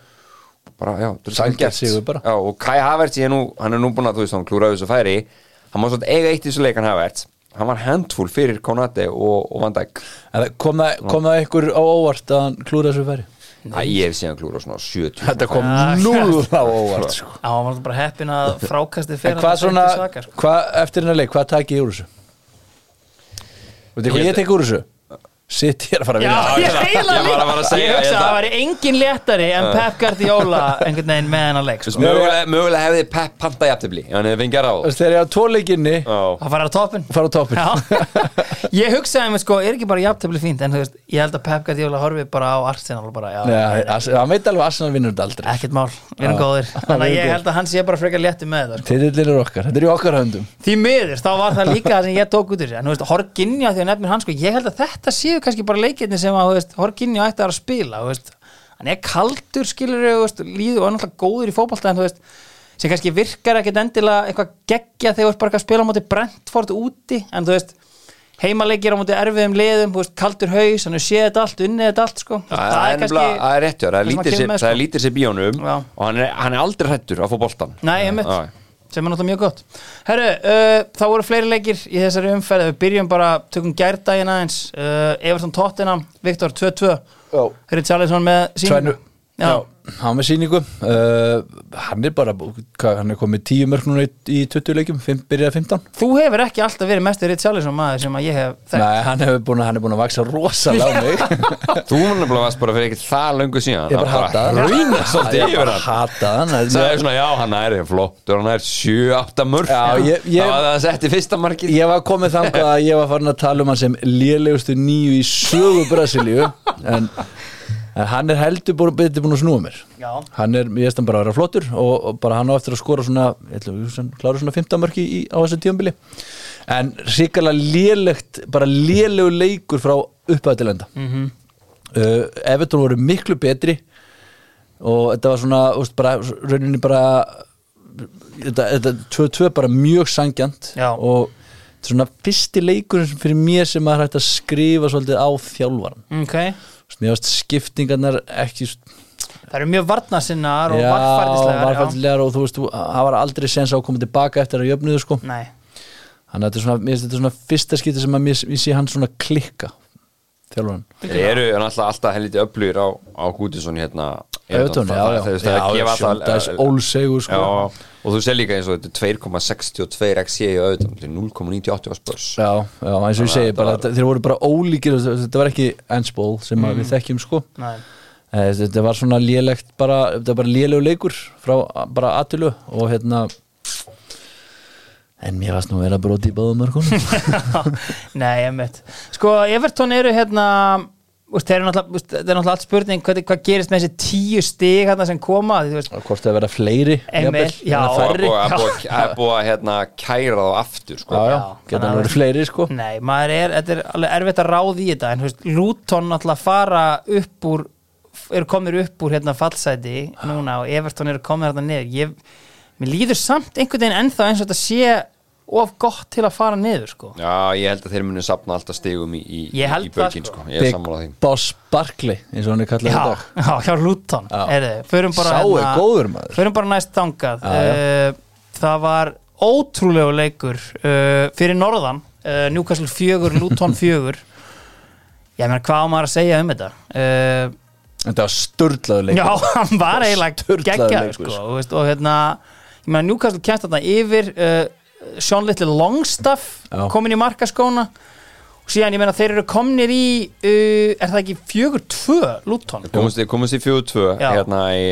bara, já, þetta er Sanngjarn sanngjarnt. sigur bara. já, og Kai Havertz ég er nú, hann er nú búin að þú veist hann klúraði þessu færi hann var svona eiga eitt í þessu leikan Havertz hann var handful fyrir Konate og, og Van Dijk En það- kom það, kom það ykkur á óvart að hann klúra þessu færi Æ, ég hef séð hann klúra svona 70 Þetta kom Ah, núl á óvart sko. á, hann var bara heppin að frákastið En fyrir hvað svona, sko. hvað eftir hennar leik hvað takið ég úr þessu? Veitir hvað ég tek úr þessu? Sitt ég er að fara að Já, vinna ég heila Ég var að fara að líka segja Ég hugsa þetta. að það væri engin léttari en Pep Guardiola einhvern veginn með hennar leik sko. mögulega, mögulega hefði Pep panta jafntefli ef hann hefði fengið ráð Þú veist, Þegar ég á tvo leikinni Já, Það fara á toppin fara á toppin Já Ég hugsaði mér sko, er ekki bara jafntöfli fínt en þú veist, ég held að Pep Guardiola horfi bara á Arsenal og bara, já, Nei, Ars- Hann veit alveg að Arsenal vinnur þetta aldrei ekkert mál, við erum Já. góðir Þannig að Við erum ég góðir. held að hann sé bara frekar léttur með þetta sko. Titillin er okkar, þetta er í okkar höndum Því miður, þá var það líka það sem ég tók út úr þessu. en þú veist, Horginja því að nefnir hann sko, ég held að þetta séu kannski bara leikirni sem að þú veist, Horginja ætti að vera að spila þú veist. hann er kaldur skilur veist, líður og er náttúrulega góður í fótbolta en þú veist, sem kannski virkar ekkert endilega eitthvað geggja þegar þú veist bara eitthvað að spila á móti Brentford úti, en þú veist heimaleikir á móti erfiðum liðum þú veist, kaldur haus, hann er séð þetta allt, unnið þetta allt sko. Það það er nefnilega, það er rétt hjá, það sem er að lítið kemur sér- með, það er sko. lítið sér bíónum Já. og hann er, hann er aldrei hrættur að fá boltan Nei, einmitt, Já. sem er náttúrulega mjög gott Herru, uh, það voru fleiri leikir í þessari umferð Við byrjum bara, tökum gærdaginn aðeins uh, Everton Tottenham, Viktor 2-2 Já. Richarlison með sínu Tvennu Já, hann með síningu uh, Hann er bara, hvað, hann er komið tíu mörg núna í, í 20 leikjum, fimm- byrjaði 15 Þú hefur ekki alltaf verið mestur Richarlison maður sem að ég hef þekkt Nei, hann hefur búin, að- hann er búin að vaksa rosalega á mig Þú var nefnilega varst bara fyrir ekkert það löngu síðan Ég bara hata hann Rýna Ég svolítið yfir bara hann hata hann Það er Ég- svona, já, hann er flottur, hann er 7-8 mörg Já, ég- ég- Það var það að setja fyrsta markið Ég var komið þangað að ég var farin að tala um hann sem lélegustu nýju í sögu Brasilíu en, en hann er heldur búin, betur búin að snúa mér Já. Hann er, ég veist hann bara að vera flottur og, og bara hann á eftir að skora svona ég ætla að hugsa hann klára svona 15 mörki í, á þessu tíumbili en ríkala lélegt bara lélegu leikur frá upphættilenda mm -hmm. uh, Everton voru miklu betri og þetta var svona úst, bara, rauninni bara þetta, þetta 2-2 bara mjög sangjant Já. og þetta er svona fyrsti leikur fyrir mér sem maður hægt að skrifa svolítið á þjálfaran Ok, mér varst skiptingarnar ekki það eru mjög varnasinnar og varfærdislegar varfærdislegar og þú veist, þú- það var aldrei sens á að koma tilbaka eftir að jöfnuðu sko Nei, þannig að þetta er svona, mér finnst þetta svona fyrsta skipti sem að mér, ég sé hann svona klikka þjálfaran Þeir eru náttúrulega alltaf helviti öflugir á, á Gútisson hérna Evertón, já, já, Þeir, já, þeir, já, gefa það- sjóndags ólsegur sko Já, og þú sér líka eins og þetta er 2,62 XE á auðvitað, þetta er 0,98 á spörs Já, já, eins og ég segi, þetta bara, var- þeir voru bara ólíkir og þetta var ekki ensból sem mm. við þekkjum sko nei Eh, þetta var svona lélegt bara, þetta var bara lélegu leikur frá bara atilu og hérna en mér varst nú vera broti í báðum mörgunum Nei, ég mitt Sko, Everton eru hérna úst, þeir eru náttúrulega, úst, þetta er náttúrulega allt spurning hvað, hvað gerist með þessi tíu stig hérna sem koma því, þú veist, og hvort það vera fleiri Emil, jafnvel, já. en að og Færri, færri. já. að búa- að búa að hérna kæra þá aftur já, sko. já, Já, Mm. geta þannig hann að- verið fleiri sko Nei, maður er, þetta er alveg erfitt að ráði í þetta en þú veist, Luton náttúrulega fara upp úr eru komnir upp úr hérna fallsæti núna og Everton eru komnir hérna niður ég, mér líður samt einhvern veginn ennþá eins og þetta sé of gott til að fara niður sko Já, ég held að þeir munu sapna alltaf stigum í, í, Ég held í bökin það, sko. sko. Ég er Big sammála því Boss Barkley eins og hann er kallað í Já, dag já, hjá Luton Já. Heyrðu, förum bara hérna- Sá er góður, maður. Förum bara næst þangað Já, já. Eh, Það var ótrúlegu leikur uh, fyrir norðan uh, Newcastle 4, Luton 4 Ég meina, hvað á maður að segja um þetta? Uh, Þetta var sturlaðu leik já, hann var eiginlega Sturlaður geggjaður leikur, sko, sko. og, veist, og hérna Ég meina, Newcastle kemst þarna yfir uh, Sean Little Longstaff Já. komin í markaskóna og síðan, ég meina, þeir eru komnir í uh, er það ekki 4-2 Luton? Komumst í- Komumst í 4-2 Já. hérna í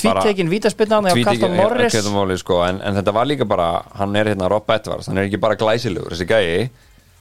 tvítekin vítaspinnan á Tvíti- Kastan eh, Morris Keita Morris, sko, en, en þetta var líka bara hann er hérna Rob Edwards, hann er ekki bara glæsilegur þessi gæi,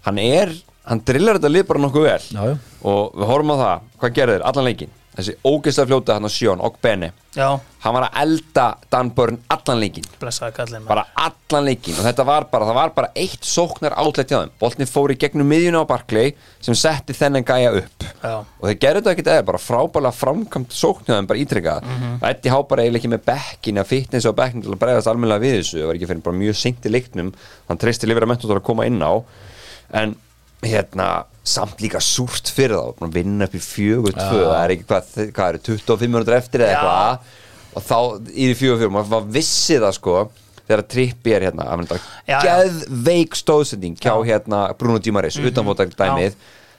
hann er hann drillar þetta lið bara nokkuð vel Já, já. og við horfum á það, hvað gerðir allan leikin, þessi ógeðslega fljóta hann á Sjón og Benny, já, hann var að elda Dan Börn allan leikin blessaði kallin bara allan leikin og þetta var bara, það var bara eitt sóknar átlætt hjá þeim, boltni fór í gegnum miðjuna á Barkley sem setti þennan gæja upp Já. og þeir gerðu þetta ekkert eða bara frábælega framkvæmt sókn hjá þeim bara ítrekkað mm Mhm. -hmm. Eddie Há bara eiginlega ekki með bekkin að fitness á bekkin til að bregðast almennilega við þessu það var ekki fyrir bara mjög seint í leiknum hann treysti lifir að mentum að koma inn á en hérna samt líka súrt fyrir þá, búin að vinna upp í fjögur tvö, það er ekki hvað, hvað eru 25 minútur eftir eða Já. eitthvað og þá í því fjögur fjögur, maður var vissi það sko þegar trippi er hérna af Já, þetta já. geðveik stóðsending hjá hérna Bruno Dímaris, Mhm. mm -hmm. utanfóttak dæmið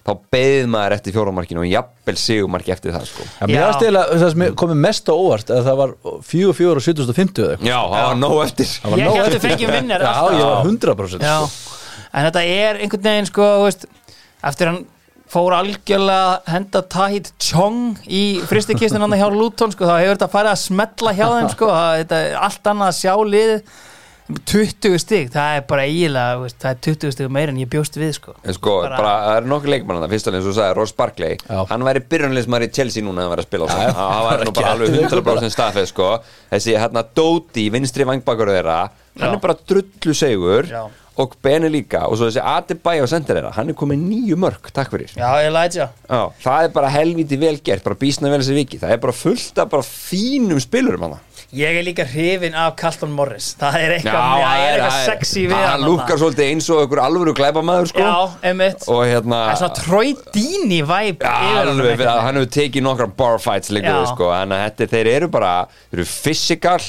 þá beðið maður eftir fjóramarkinu og jafnvel sigumarki eftir það sko Já, mér Já. varst eiginlega, það sem komið mest á óvart að það var 44 og 750 eða eitthvað Já, það var nóg eftir Það var Ég nóg hélt við eftir. fengjum vinnar Já, alltaf. ég var 100% já. sko. en þetta er einhvern veginn sko þú veist, eftir hann fór algjörlega að henda Tahit Chong í fristikistin hann hjá Luton sko, þá hefur þetta farið að smetla hjá þeim sko, það- þetta er allt annað að sjá lið 20 stig, það er bara eiginlega þú veist, það er 20 stig meir en ég bjóst við sko. En sko, bara, Bara- það eru nokkuð leikmann það fyrst alveg eins og þú sagði, Ross Barkley Já. hann væri byrjunleismar í Chelsea núna ef hann væri að spila á það það var nú bara alveg Geðveikur 100% staðfeð sko þessi hérna Dóti, vinstri vangbakur þeirra hann Já. er bara drullu segur Já. og Beni líka og svo þessi Adibay og sendir þeirra, hann er komið nýju mörg takk fyrir já, Elijah Já, það er bara helviti vel gert, bara bísna vel þessi viki það er bara fullt af bara fínum spilurum hann ég er líka hrifin af Carlton Morris það er eitthvað, það er eitthvað sexy við hann lúkar svolítið eins og einhver alvöru glæpamaður sko Já, einmitt og hérna Það er svona Troy Deeney væp Já, alveg, við, hann hefur tekið nokkra bar fights líka Já. við, sko, en þetta, þeir eru bara þeir eru physical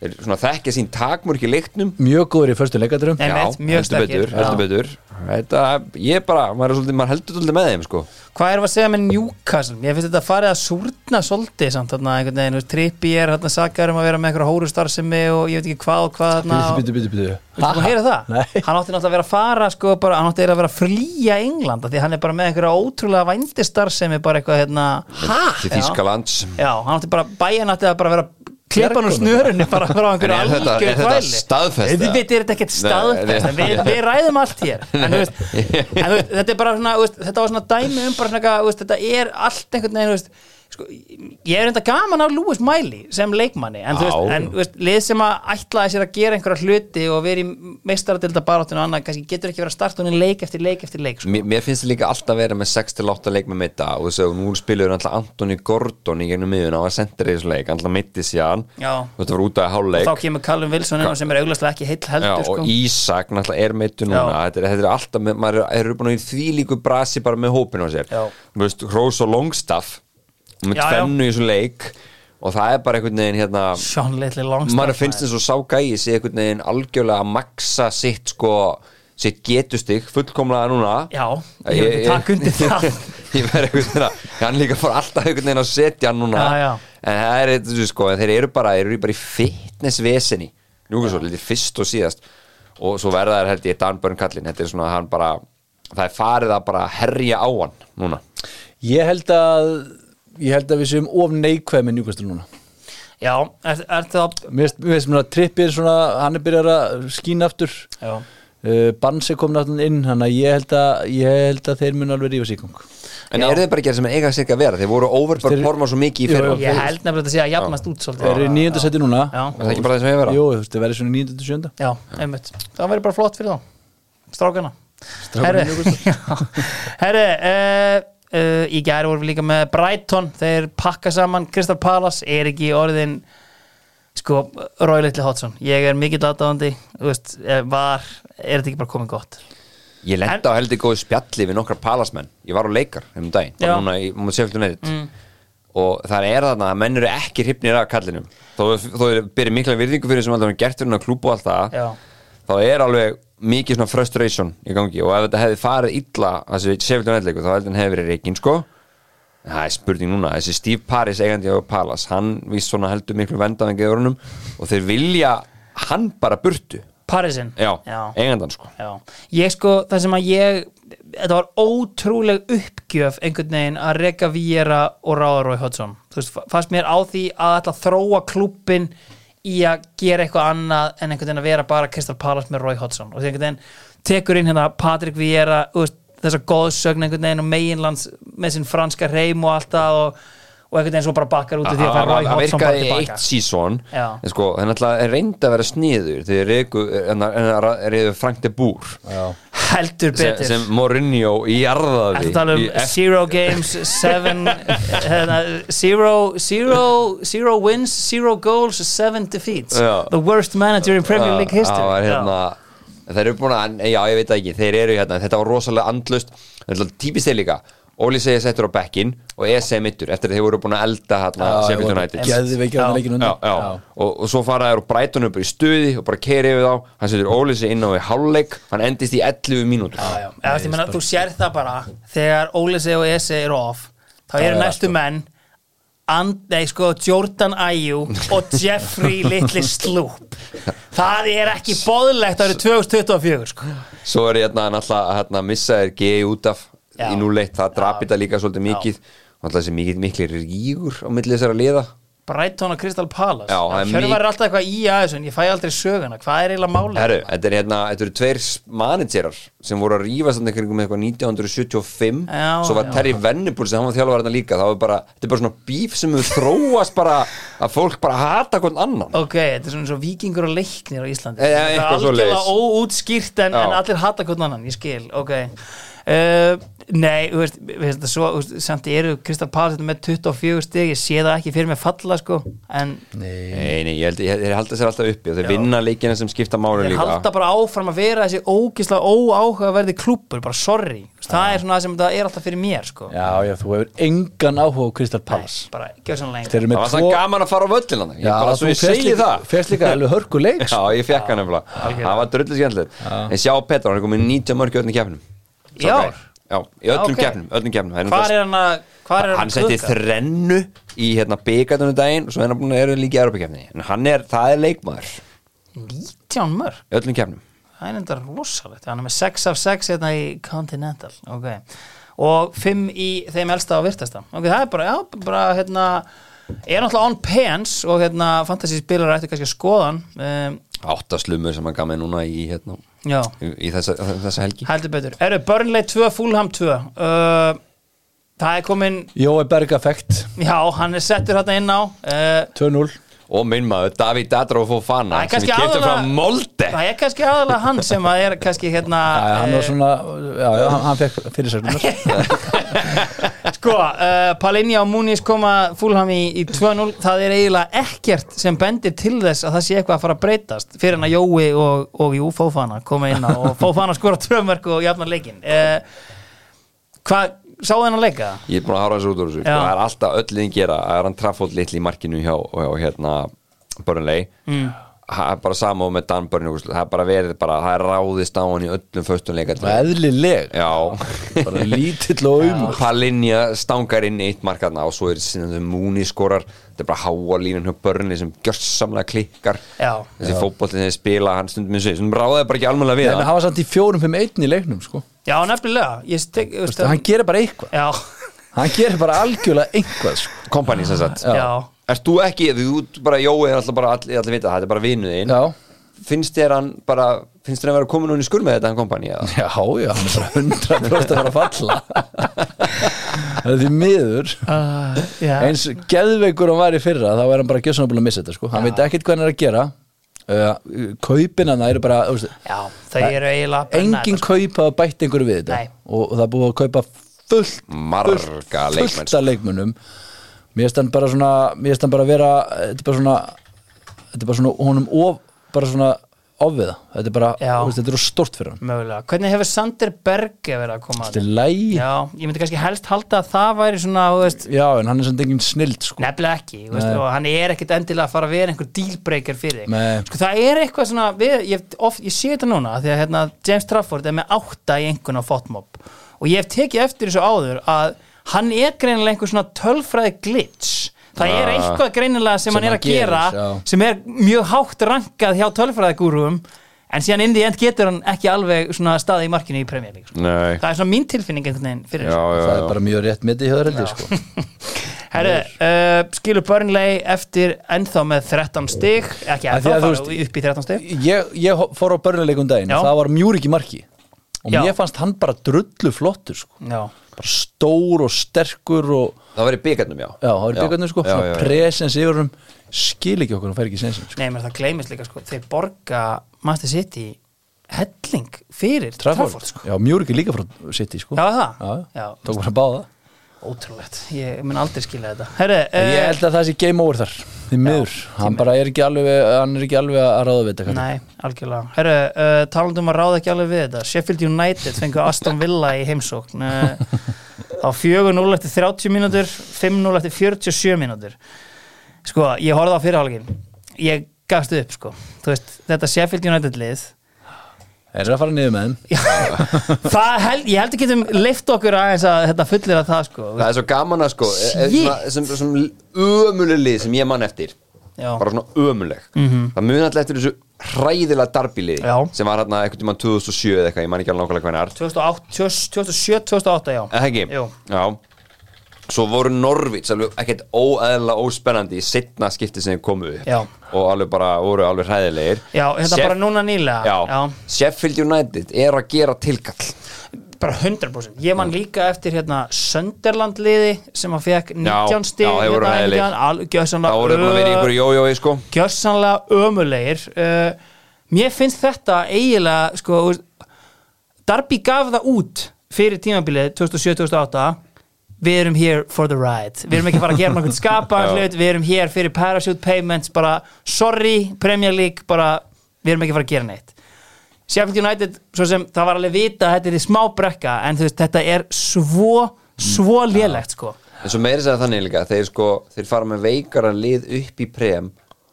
þeir svona þekkja sín takmörk í leiknum Mjög góður í förstu leikadrum Nei. Einmitt, mjög heldur sterkir. betur, heldur Já. betur. Þetta, ég bara, maður, er svolítið, maður heldur svolítið með þeim sko. Hvað erum við að segja með Newcastle? Ég finnst þetta að farið að súrna svolítið samt þarna einhvern veginn, þú veist, Trippi er þarna sakar um að vera með einhverja hórustarfsemi og ég veit ekki hvað og hvað þarna Bítu, bítu, bítu Þú veist, heyra það? Nei. Hann átti náttúrulega að vera að fara sko, bara, hann átti eiginlega að vera að flýja England af því hann er bara með einhverja ótrúlega vændistarfsemi bara eitthvað hérna til Þýskalands Já, hann átti bara, bæjan átti að bara vera klippan úr snörunni bara frá En einhverju er þetta, algjör er þetta þvæli. staðfest? Við veitum er þetta ekkert Nei, staðfest nei. en við, við ræðum allt hér en, þú veist, en þú veist, þetta er bara svona, þú veist, þetta var svona dæmi um bara svona, eitthvað, þú veist, þetta er allt einhvern veginn þú veist, sko, ég er enda gaman af Lewis Miley sem leikmanni en, þú Já. veist, en þú veist, lið sem að ætlaði sér að gera einhverja hluti og verið í meistaradelda baráttinu og annað, kannski getur ekki verið að starta hún leik eftir leik eftir leik sko. Mér, mér finnst líka alltaf verið með 6-8 leik með mitta og þess að nú spilur alltaf Antoni Gordon í gegnum miðun á að sendra í þessu leik alltaf mitti síðan, Já. þetta var út af og háleik þá kemur Callum Wilson inn og sem er auglastlega ekki heill heldur Já, sko. og Ísak náttúrulega er meittu núna þetta er, þetta er alltaf, með, maður er- eru búin að í því líku brasi bara með hópin á sér Já. Þú veist, Rós og Longstaff með Já, já. tvennu í þessum leik og það er bara einhvern veginn hérna Sean Little Longstaff maður finnst maður. eins og sá gæi sé einhvern veginn algjörlega að maksa sitt sko, sitt getustig fullkomlega núna Já, ég vil ekki taka undir það. ég verð einhvern veginn að hann líka fór alltaf einhvern veginn að setja hann núna Já, já. en það er eitthvað sko, en þeir eru bara, þeir eru bara í fitnessvesinni njúka svo, litið fyrst og síðast og svo verða þær held ég Dan Börn kallinn, þetta er svona hann bara það er farið að bara herja á hann núna Ég held að Ég held að við séum of neikvæð með njúkastur núna Já, er, er það Mér finnst- mér finnst mér að trippir svona Hann er byrjar að skína aftur Já. uh, Bans er komin aftur inn Þannig að ég held að, ég held að þeir mun alveg rífa síkung en eru þeir bara að gera sem eiga sér ekki að vera þeir voru overperforma svo mikið í Jú, fyrir jú. Ég held nefnilega að þetta sé að jafnast út svolítið Þeir eru í nýjönda seti núna Já. Er það ekki bara það sem ég vera? Jú, þú veist, þeir verður svona nýjönda til sjönda Já, einmitt Það væri bara flott fyrir þá Strákana Strákana Herri, Herri uh, uh, í gæri vorum við líka með Brighton þeir pakka saman Crystal Palace er ekki orðin sko, Roy Little Hodgson ég er mikill aðdáðandi eh, var, er þetta ekki bara komið gott Ég lendi á heldur góðu spjalli við nokkra palasmenn Ég var á leikar um daginn Já. Mm. Bara núna í múið seflum neitt Og það er þarna að menn eru ekki hrifnir af kallinum Þó, þó er byrja mikla virðingu fyrir sem alltaf er gert fyrir hann að klúbu og allt það Já. Þá er alveg mikið svona frustration í gangi Og ef þetta hefði farið illa Þessi seflum neitleiku þá heldur hann hefði verið reikin sko En Það er spurning núna, þessi Steve Paris eigandi á Palace, hann víst svona heldur miklu vendaðan geðurunum og þeir vilja hann bara burtu, Parisin já, Já. eigandan sko Já, ég sko, það sem að ég þetta var ótrúleg uppgjöf einhvern veginn að reka Víera og Ráðarói Hoddsson, þú veist, fa- fannst mér á því að ætla að þróa klúppin í að gera eitthvað annað en einhvern veginn að vera bara Kristal Palace með Rói Hoddsson og því einhvern veginn tekur inn hérna Patrik Víera, þú veist, þessa góðsögn einhvern veginn og meginlands með sinn franska reym og allt það og, og einhvern veginn svo bara bakkar út af því að fara Hann- Rói hann Hoddsson bara virkaði í tilbaka eitt sísón Já. en sko, hann alltaf reyndi að vera sniður þegar reyku, en það reyðu Frank de Boer heldur sem, betur sem Mourinho í jarðaði Ertu að tala um í F- zero games, seven hérna, zero, zero, zero wins, zero goals, seven defeats Já. The worst manager in Premier League history Já, er hérna, þeir eru búin að, já ég veit það ekki þeir eru hérna, þetta var rosalega andlust típist þeir líka, Óli segja settur á bekkin og ESE mittur eftir að þeir voru búin að elda hérna, Sheffield United Geðveikir hann Já. leikinn já, undan. já. Og, og svo fara þær og breyta hann upp í stuði og bara keiri yfir þá, hann setur Óli sig inn á í hálfleik, hann endist í 11 mínútur Já, já. Eða, þú meina, þú sér það bara þegar Ólise og Ese eru off þá eru er næstu menn And, nei, sko, Jordan Ayew og Jeffrey Little Sloop það er ekki boðlegt árið 2024 sko. Svo er hérna náttúrulega hérna, missa er GI út af Já. í núleitt, það drapi þetta líka svolítið mikið náttúrulega þessi mikið miklir rígur á milli þessara liða Brighton og Crystal Palace Já, það er Hjörvar mik- er alltaf eitthvað í aðeins en ég fæ aldrei söguna, hvað er eiginlega málið Herru, þetta er hérna, þetta eru tveir managerar sem voru að rífa samt einhverjum með eitthvað 1975 Já, svo var já. Terry Vennipúl sem hann var þjálfur hérna líka, það var bara, þetta er bara svona bíf sem við þróast bara að fólk bara hata hvern annan Ok, þetta er svona eins og vikingur og leiknir á Íslandi Eh, eh, Það er eitthvað svoleiðis. algjörlega óútskýrt en, Já. en allir hata hvernig annan, ég skil, ok uh, Nei, þú veist, við veist það svo, þú veist, samt eru Kristal Páls með 24 stig, ég sé það ekki fyrir mig falla sko, en Nei, nei, ég held, ég, þeir halda sér alltaf uppi og þeir vinna leikina sem skipta máli þeir líka halda bara áfram að vera þessi ógislega óáhugaverði klúppur, bara sorry Þú veist, Það er svona það sem þetta er alltaf fyrir mér sko já, já, þú hefur engan áhuga á Crystal Palace Bara, gjör svona lengur Þeir eru Það með var sann gaman að fara á völlin hann Ég bara svo ég segi það Fyrst líka alveg hörku leik Já, ég fekk hann nefnilega Það var drullu skemmtilegt En sjá Petra, hann er komið 90 mörg í öllum keppnum Svo Já. gæ- Já, í Já, öllum ok. keppnum, öllum keppnum Það Hvar er náttúrulega- hann að, hvar er hann Hann setti klukka? þrennu í hérna byggatunum daginn og svo er hann búin að eru líka í Europakefni en hann er, það er leikmaður 19 mörg í öllum kefnum Það er enda rosalegt, hann er með 6 af 6 hérna í Continental ok. og 5 í þeim elsta og virtasta ok, það er bara, já, bara hérna, er náttúrulega on pens og hérna, fantasy spilar ættu kannski að skoða hann um, Áttaslumu sem hann gaf með núna í hérna já, í, í þessa, þessa helgi heldur betur Eru Burnley 2, Fulham 2 uh, Það er komin Jói Berg effekt já, hann er settur hérna inn á uh, 2-0 Og minn maður, Davíð Dadra og Það er Fofana sem kannski ég kefti aðalega- frá Molde það er kannski aðalega hann sem að er kannski hérna Já, já, eh, hann var svona, já, já, hann, hann fekk fyrirsögnum Sko, uh, Palinja og Múnis koma fúlham í, í 2-0 það er eiginlega ekkert sem bendir til þess að það sé eitthvað að fara að breytast fyrir hann að Jói og, og Jú Fófana koma inn á og Fófana skora tvömörk og jafnar leikin uh, Hvað, sáu hennar leika? Ég er búin að hára þessu út úr þessu Já. sko. Það er alltaf öll liðin gera Það er hann traffótt litli í markinu hjá, hjá hérna, Burnley Mm. Það er bara sama og með Dan Burnley úrslit. Það er bara verið bara, það er ráðist á hann í öllum föstunleika Eðlileg Já Bara lítill og um Palinja stangar inn eitt markaðna og svo er síðan þessi Múni skorar þetta er bara háa línun hjá Burnley sem gjörsamlega klikkar Já. þessi fótbolli sem þeir spila hann stundum eins og þessum ráðið bara ekki almennilega við En hann hann var samt í 4-5-1 í leiknum sko. Já, nefnilega ég stek, ég Vistu, Hann gerir bara eitthvað Já, Hann gerir bara algjörlega eitthvað sko. kompani sem sagt já, Erst þú ekki, þú bara Jói er alltaf bara allir, allir vita, þetta er bara vinuðin Já, finnst þér hann bara finnst þér hann vera komin hún í skur með þetta hann kompani eða? já, já, hann er bara 100 að fara að falla Það er því miður uh, já. eins geðveikur hann var í fyrra þá er hann bara gjössan að búin að missa þetta sko. hann veit ekkert hvað hann er að gera uh, kaupin hann eru bara þú veist, já Þau eru eiginlega að brenna engin þetta, kaup hafa bætt einhverju við þetta Nei. og, og það er búið að kaupa fullt Marga fullt- leikmenn, sko. fullt af leikmönnum mér finnst hann bara svona mér finnst hann bara vera þetta er bara svona þetta er bara svona honum of bara svona ofviða þetta er bara Já. þú veist, þetta er of stórt fyrir hann mögulega Hvernig hefur Sander Berge verið að koma að þetta er læg já. Já, ég myndi kannski helst halda að það væri svona, þú veist, en hann er samt engin snild sko. nefnilega ekki þú veist, Nei. og hann er ekkit endilega að fara að vera einhver dealbreaker fyrir þig Nei. sko, það er eitthvað svona, við, ég, hef oft, ég sé þetta núna því að hérna, James Trafford er með átta í einhvern á fotmob og ég hef tekið eftir þessu áður að hann er greinilega einhver svona tölfræði glitch það er Ah. eitthvað greinilega sem, Sem hann er hann að gera gerir, já. sem er mjög hátt rankað hjá tölfræðagúrum en síðan indi end getur hann ekki alveg svona staði í markinu í Premier League sko. Nei, það er svona mín tilfinning einhvern veginn fyrir já, þessu. já, það já. er bara mjög rétt mitt í höður heldur sko. Herru, uh, skilur Burnley eftir ennþá með 13 stig ekki ennþá, Af því að þú fara upp í 13 stig ég, ég fór á börnuleikum daginn Já. og það var mjúrik í marki og Já. mér fannst hann bara drullu flottur sko. Já, bara stór og sterkur og Það var í byggarnum, já já, það var í byggarnir sko, já, já, svona já. presens yfir hann skil ekki okkur, hann fær ekki sensin sko. nei, menn það gleymist líka sko, þeir borga Master City helling fyrir Trafford, Trafford, sko. já, mjúrik er líka frá City sko. Já, er það? Já, Já. tók bara báða Ótrúlegt, ég mun aldrei skilja þetta Herru, ég uh, held að það sé game over þar því miður, hann bara er ekki alveg hann er ekki alveg að ráða við þetta kallinn. nei, algjörlega Herru, uh, talandum að ráða ekki alveg við þetta Sheffield United fengu Aston Villa í heimsókn uh, á 4-0 eftir 30 mínútur 5-0 eftir 47 mínútur sko, ég horfði á fyrirhálfin ég gafst upp sko Þú veist, þetta Sheffield United lið er það að fara niður með þeim Já, það held, ég held að getum leift okkur aðeins að þetta fullir að það sko Það er svo gaman að sko e- e- Shit. svona, sem, sem ömuleg lið sem ég man eftir Já. bara svona ömuleg Mhm. -hmm. það muni alltaf eftir þessu hræðilega darbilið Já. sem var hérna einhvern tímann 2007 eða eitthvað, ég man ekki alveg nákvæmlega hvernig 2008, 2007, 2008 já Eða ekki? Jú. Já Svo voru Norvits alveg ekkert óæðla óspennandi í setna skipti sem þeir komu upp Já. og alveg bara voru alveg hræðilegir Já, þetta bara núna nýlega já, Sheffield United er að gera tilkall bara 100% ég man líka eftir hérna Sönderland liði sem að fekk 19 stig já, þeir voru hérna, hræðilegir. hérna, al- Það voru búin að vera í gjörsamlega einhverju jójói sko ö- gjörsamlega ömulegir uh, mér finnst þetta eiginlega sko þú veist, Darby gaf það út fyrir tímabilið 2007-2008 við erum hér for the ride við erum ekki að fara að gera nákvæmt skapa Já. hlut, við erum hér fyrir parachute payments bara sorry Premier League bara við erum ekki að fara að gera neitt Sheffield United, svo sem það var alveg vita að þetta er í smá brekka en þú veist, þetta er svo, svo Mm. lélegt sko En svo meiri segja þannig líka þeir sko, þeir fara með veikara lið upp í prem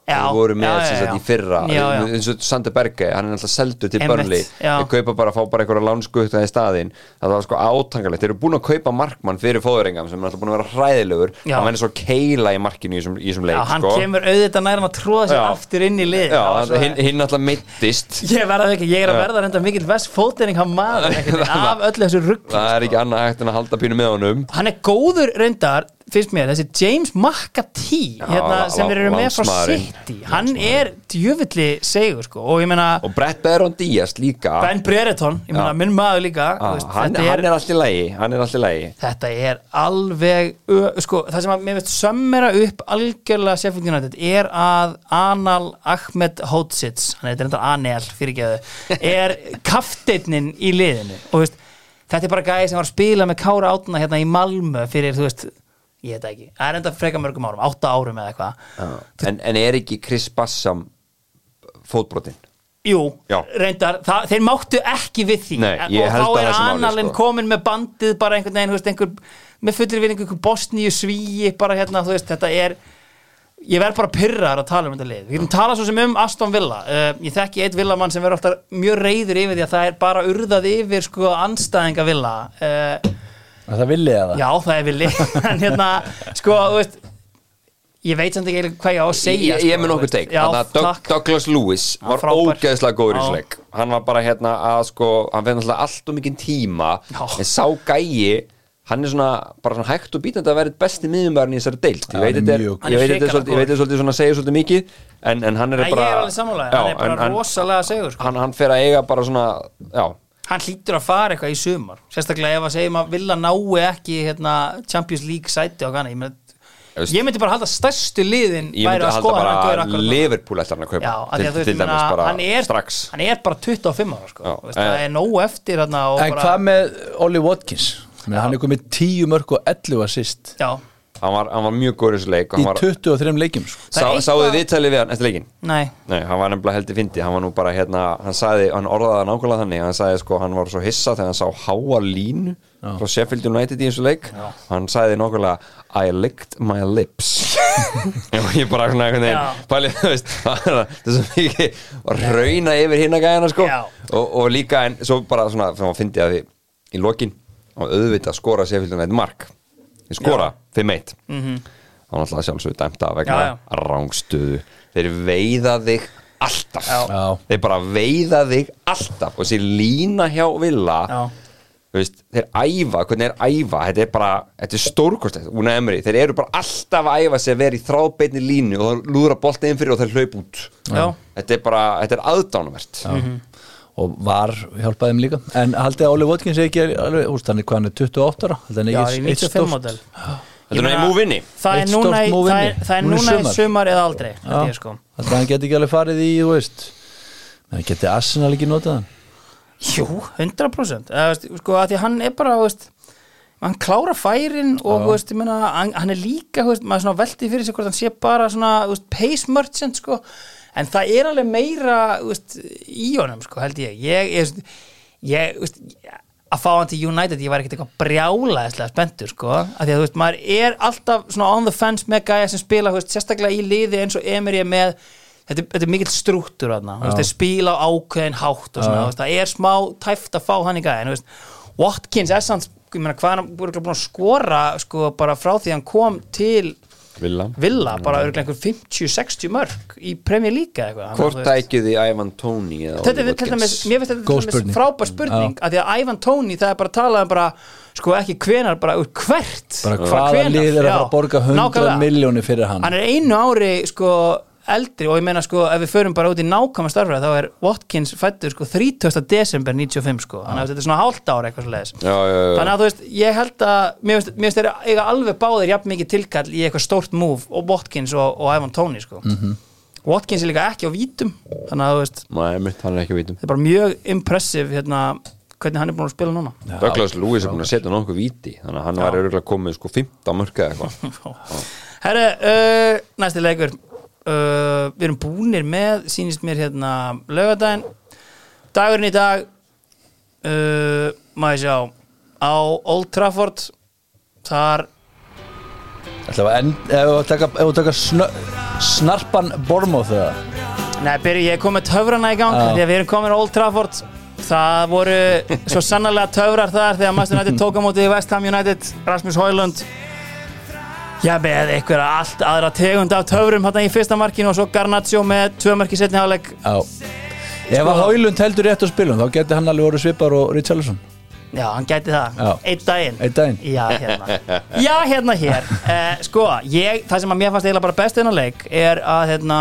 Já, þeir voru með já, já, sem sagt í já. fyrra Já, já. eins og Sander Berge, hann er alltaf seldur til Einmitt, börnli, já. þeir kaupa bara að fá bara einhverja lánskutta í staðinn, það var sko átangalegt þeir eru búin að kaupa markmann fyrir fóðurengam sem er alltaf búin að vera hræðilegur Já. hann verður svo keila í markinu í þessum- í þessum leik Já, hann sko. kemur auðvitað nærum að tróða sér Já. aftur inn í lið já, Það var hann- svo- hinn, hinn alltaf mittist Ég verða ekki, ég er að Já. verða reynda mikill vestfótering á maður einhvern veginn, af öllu þessu rugg það er ekki annað hægt en að halda pínu með honum Hann er góður reyndar, finnst mér, þessi James McAtee hérna, lá- sem lá- þeir eru með frá lánsmaðurinn. City Hann er djöfulli segur sko og ég meina og Brett Baron Díaz líka Ben Brereton, ég meina Já. minn maður líka þú ah, veist, hann, þetta, hann er, er allt í lagi hann er allt í lagi þetta er alveg ö, sko, það sem að mér veist sömmera upp algjörlega Sheffield United er að Anal Ahmed Hotsits hann heitir reyndar Anel, fyrirgeðu er kafteitnin í liðinu og þú veist, þetta er bara gæði sem var að spila með Kára Átna hérna í Malmö fyrir, þú veist, ég veit það ekki það er enda freka mörgum árum, átta árum eða eitthvað en, en er ekki Chris Bassam fótbrotinn Jú, Já. reyndar, það, þeir máttu ekki við því Nei, ég og held að þá er það sé málið, annalinn sko. komin með bandið bara einhvern veginn, þú veist, einhver með fullri vinningu, einhver bosníu svíi bara hérna, þú veist, þetta er ég verð bara pyrrar að tala um þetta lið við getum talað svo sem um Aston Villa uh, ég þekki eitt Villamann sem verður alltaf mjög reyður yfir því að það er bara urðað yfir sko anstæðinga Villa uh, að það villi eða já, það er Villi en hérna, sko, þú veist ég veit samt ekki eiginlega hvað ég á að segja ég, ég sko, með þú nokkuð veist. teik já, Þarna Doug, takk, Douglas Lewis var frábær. ógeðslega góður Já. í þessu leik hann var bara hérna að sko hann veginn alltaf allt og mikinn tíma Já. en sá gæi hann er svona bara svona hægt og býtandi að vera einn besti miðjumverðin í þessari deild hann ég veit er þetta er- mjög góður. ég veit þetta Hann er er svolítið- ég veit þetta er svolítið svona að segja svolítið mikið en, en hann er Nei, ég bara er alveg sammálaðið, hann er Já, bara en- en rosalega segur sko. hann, hann fer að eiga bara svona já, hann hlýtur að fara eitthvað í sumar sérstaklega ef að segjum að vilja náu ekki hérna, Champions League sæti og gana ég, mynd, Veist- ég myndi bara halda stærstu liðin ég væri myndi að halda skoða hann að bara gauður að akkurat núna. Liverpool eftir hann að Já, af kaupa því að til, þú veist, til ég dæmis meina, bara hann, er, strax hann er bara 25 ára sko. Já, Þú veist, það eh. er nógu eftir hérna, og en bara, hvað með Ollie Watkins Men hann er komið 10 mörg og 11 assist já, hann var, hann var mjög góður í þessu leik og í hann var, 23 leikjum sko. Það sá, er eitthva... eitthvað- sáðu viðtalið við hann eftir leikin nei Nei, hann var nefnilega heldur fyndi, hann var nú bara hérna, hann sagði, hann orðaði það nákvæmlega þannig, hann sagði sko, hann var svo hissa þegar hann sá háa línu frá Sheffield United í eins og leik, hann sagði nákvæmlega I licked my lips og ég bara svona einhvern Já. veginn pælið, þú veist, það er svo mikið að rauna yfir hinn að gæðina sko Já. og, og líka en svo bara svona þegar hann fyndi að því í lokin og auðvitað skora Sheffield United mark ég skora, 5-1 mm -hmm. hann alltaf sjálfsögur dæmta vegna Mhm. Já, já. rángstöðu þeir veiða þig alltaf Já. Já. þeir bara veiða þig alltaf og þessi lína hjá Villa Já. þú veist, þeir æfa, hvernig er æfa þetta er bara, þetta er stórkostlega Una Emery, þeir eru bara alltaf að æfa sig að vera í þráðbeinni línu og það lúðra bolta inn fyrir og þeir hlaup út Já. þetta er bara, þetta er aðdánumvert Mhm. og var hjálpaði þeim líka en haldið að Óli Votkins er ekki alveg úst, hann er hvað hann er 28 ára haldið hann já, ekki í eitt- eitt 95 stórt- model þetta er Ég nú í meina- múvinni það er Eitt núna, stórt í- það móvinni. er, það er Núna í núna í sumar. sumar eða aldrei Já. held ég, sko. haldið hann geti ekki alveg farið í þú veist menn geti Arsenal ekki notað hann Jú, 100% eða, veist, sko, að því að hann er bara veist, hann klára færin og veist, ég meina, hann, hann er líka veist, maður svona velti fyrir sig hvort hann sé bara svona, veist, pace merchant sko. en það er alveg meira veist, í honum sko, held ég ég, ég, veist, ég veist, að fá hann til United ég var ekkert eitthvað brjálaðislega spenntur sko. að því að þú veist, maður er alltaf svona on the fence með gæja sem spila þú veist, sérstaklega í liði eins og Emery er með þetta, er- þetta er mikill strúttur þarna þú veist, þeir spila á ákveðin hátt og svona, þú veist, það er smá tæft að fá hann í gæðin þú veist, Watkins er sanns ég meina, hvað er hann búið að skora sko, bara frá því hann kom til Villa Villa, Mm. bara örgulega einhver 50-60 mörg í Premier League eða eitthvað Þannig að hvort þú veist- tækið þið Ivan Tóni eða þetta er Oliver til dæmis, Gibbs? mér finnst þetta Góð til dæmis spurning. frábær spurning að því að Ivan Tóni það er bara að tala um bara sko ekki hvenar, bara úr hvert bara hvaða hvenær, lið er að fara já. að borga 100 Nákvæmlega. miljónir fyrir hann hann er einu ári sko eldri og ég meina sko ef við förum bara út í nákvæma starfra þá er Watkins fættur sko 30. desember 95 sko þannig að þetta er svona hálft ára eitthvað svo Já, já, já. þannig að þú veist ég held að mér finnst- mér finnst þeir eiga alveg báðir jafn mikið tilkall í eitthvað stórt move og Watkins og, og Ivan Tóni sko Mhm. Watkins er líka ekki á vítum þannig að þú veist Nei, mitt hann er ekki að vitum það er bara mjög impressive hérna, hvernig hann er búin að spila núna Douglas Lewis er búin að setja nokkuð víti þannig að hann var örgulega komið sko 15 mörka eða eitthvað Herre, uh, næsti leikur uh, við erum búnir með sýnist mér hérna lögadaginn dagurinn í dag uh, maður sjá á Old Trafford þar ætlaðu að end- ef þú taka, ef þú taka snö, snarpan Bormóð þegar Nei, byrju, ég kom með töfrana í gang Já. Þegar við erum komin á Old Trafford Það voru svo sannarlega töfrar þar Þegar Master United tók á móti West Ham United Rasmus Hoylund Já, með einhverja allt aðra tegund af töfrum Þetta í fyrsta markinu og svo Garnaccio með tvö marki setni hálfleik Já. Ef að Hólund heldur rétt á spilum þá geti hann alveg voru svipar og Richarlison Já, hann gæti það, Já. einn daginn Einn daginn. Já, hérna, Já, hérna hér eh, Sko, ég, það sem að mér fannst eiginlega bara best þennan leik er að hérna,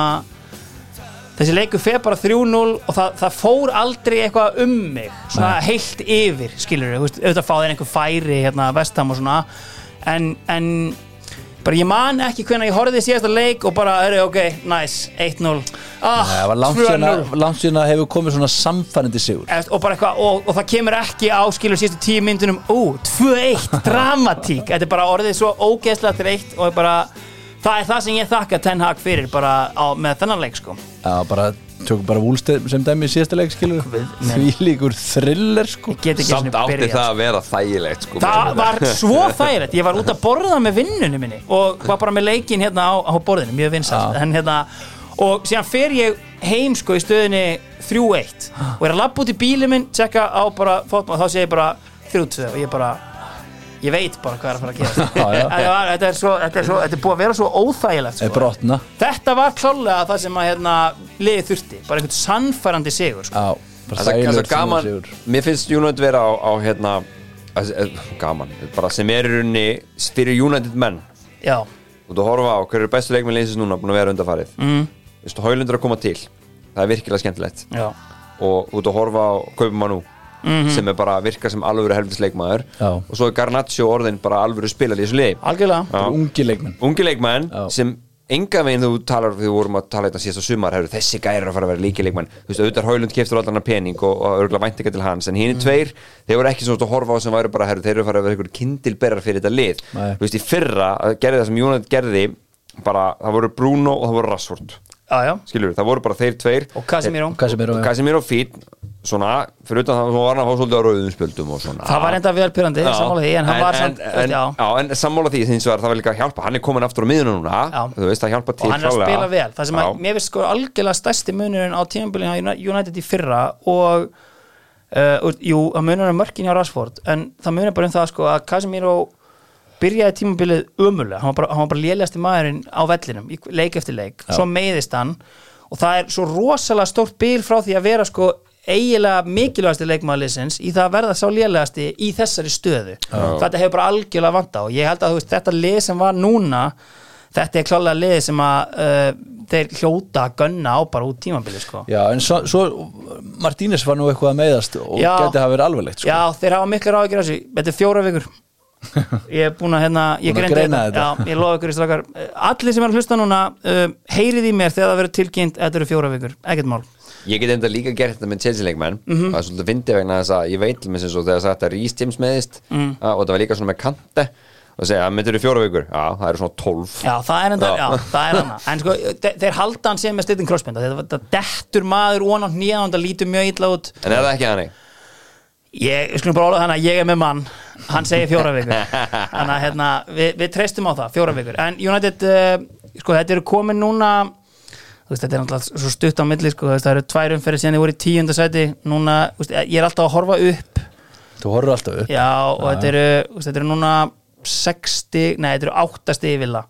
þessi leiku fer bara 3-0 og það, það fór aldrei eitthvað um mig svona heilt yfir, skilur við auðvitað fá þeir einhver færi, hérna, vestam og svona en, en bara ég man ekki hvernig ég horfði í síðasta leik og bara, eru, ok, nice, 1-0 ah, Það var langt 2-0. síðan- langt síðan að hefur komið svona samfærandi sigur Eftir, og, bara eitthvað, og, og það kemur ekki á skilur sístu tíu myndunum ú, 2-1, dramatík þetta er bara orðið svo ógeðslega dreitt og er bara, það er það sem ég þakka Ten Hag fyrir bara á, með þennan leik sko. Já, bara tökum bara Wúlsteð sem dæmi í síðasta leik skilur Guð minn. Því líkur thriller sko ég get ekki einu samt sinni átti byrjað. það að vera þægilegt sko það var svo þægilegt, ég var út að borða með vinnunni minni og var bara með leikin hérna á, á borðinu, mjög vinsast en, hérna, og síðan fer ég heim sko í stöðinni 3-1 og er að labba út í bílið minn, tjekka á bara fótmál, þá sé ég bara 3-2 og ég bara, ég veit bara hvað er að fara að gera Já, já. þetta, er svo, þetta, er svo, þetta er búið að vera svo óþægilegt Er sko. brotna þetta var klálega það sem að hérna, liðið þurfti, bara einhvern sannfærandi sigur sko. Já, bara það er svo þægilegur gaman sigur mér finnst United vera á, á hérna að- eh, gaman, bara sem er í rauninni fyrir United menn já, og þú horfa á hverju bestu leikminn leysist núna búin að vera undarfarið mm. veistu, Hólundur að koma til það er virkilega skemmtilegt já, og út að horfa á Kaupumanú Mhm. mm sem er bara virkar sem alvöru helfis leikmaður Já. og svo er Garnaccio orðin bara alvöru spilar í þessu liði algjörlega Já. Ungi leikmenn ungi leikmenn Já. sem enga veginn þú talar við vorum að tala þetta síðast á sumar hefur þessi gæri er að fara að vera líkileikmann þú veist, auðvitað Haulund keftur allan að pening og, og örgulega væntinga til hans, en hinn Mm. tveir þeir voru ekki svona að horfa á sem væru bara herru, þeir eru að fara að vera einhver kindilberar fyrir þetta lið Nei. þú veist, í fyrra að gerði það sem Jónat gerði bara, það voru Bruno og það voru Rassford já, já, skilur, það voru bara þeir tveir og Casimiro Og Casemiro, já. Casimiro fín, svona fyrir utan það, svo var hann að fá svolítið á rauðum spjöldum og svona það var enda vel pyrrandi, Ah. Já. sammála því en hann var en, samt, en, já, já, en sammála því hins vegar það var líka að hjálpa, hann er komin aftur á miðuna núna Já. þú veist það hjálpa til og hann er að klárlega. spila vel það sem Já. að, mér finnst sko algjörlega stærsti munurinn á tímabilin á United í fyrra og uh, og- jú, það munur er mörkin hjá Rashford en það munur bara um það sko að Casemiro byrjaði tímabilið ömulega hann var bara, hann var bara lélegasti maðurinn á vellinum í leik eftir leik, svo meiðist hann og það er svo rosalega stórt bil frá því að vera sko eiginlega mikilvægasti leikmaðurliðsins í það að verða sá lélegasti í þessari stöðu þetta hefur bara algjörlega vanta og ég held að þú veist, þetta lið sem var núna þetta er klálega lið sem að uh, þeir hljóta að gunna á bara út tímabilið sko Já, en svo, svo Martínez var nú eitthvað að meiðast og Já. geti hafa verið alveglegt sko. Já, þeir hafa miklar áhyggjur af þessu Þetta er fjóra vikur Ég er búin að hérna Ég Búin að greindi greina þetta. Já, ég lofa ykkur í strakar Allir sem er að hlusta núna um, Heyrið í mér þegar það verður tilkynnt Þetta eru fjóra vikur, ekkert mál ég get enda líka gert þetta með Chelsea-leikmenn Mhm. það er svolítið fyndið vegna þess að ég veit til mér sem svo þegar sagt að Rhys James meðist Mhm. að- og það var líka svona með kante og segja að myndir eru fjóra vikur, já það eru svona tólf Já, það er enda, já, Já. það er hana En sko, þe- þeir halda hann sem með slittin crossbenda Þegar þetta dettur maður onan hnýjan Það lítur mjög illa út en er það ekki þannig? Ég, við skulum bara álega þannig að ég er með mann Hann segir fjóra vikur Þannig að hérna, við, við treystum á það, fjóra vikur En United, uh, sko, þetta eru komin núna þú veist, Þetta er náttúrulega svo stutt á milli sko, þú veist, Það eru tvær umferðir síðan ég voru í tíunda sæti Núna, þú veist, ég er alltaf að horfa upp Þú horfður alltaf upp Já, og þetta eru, þú veist, þetta eru núna 60, nei, þetta eru áttasti vila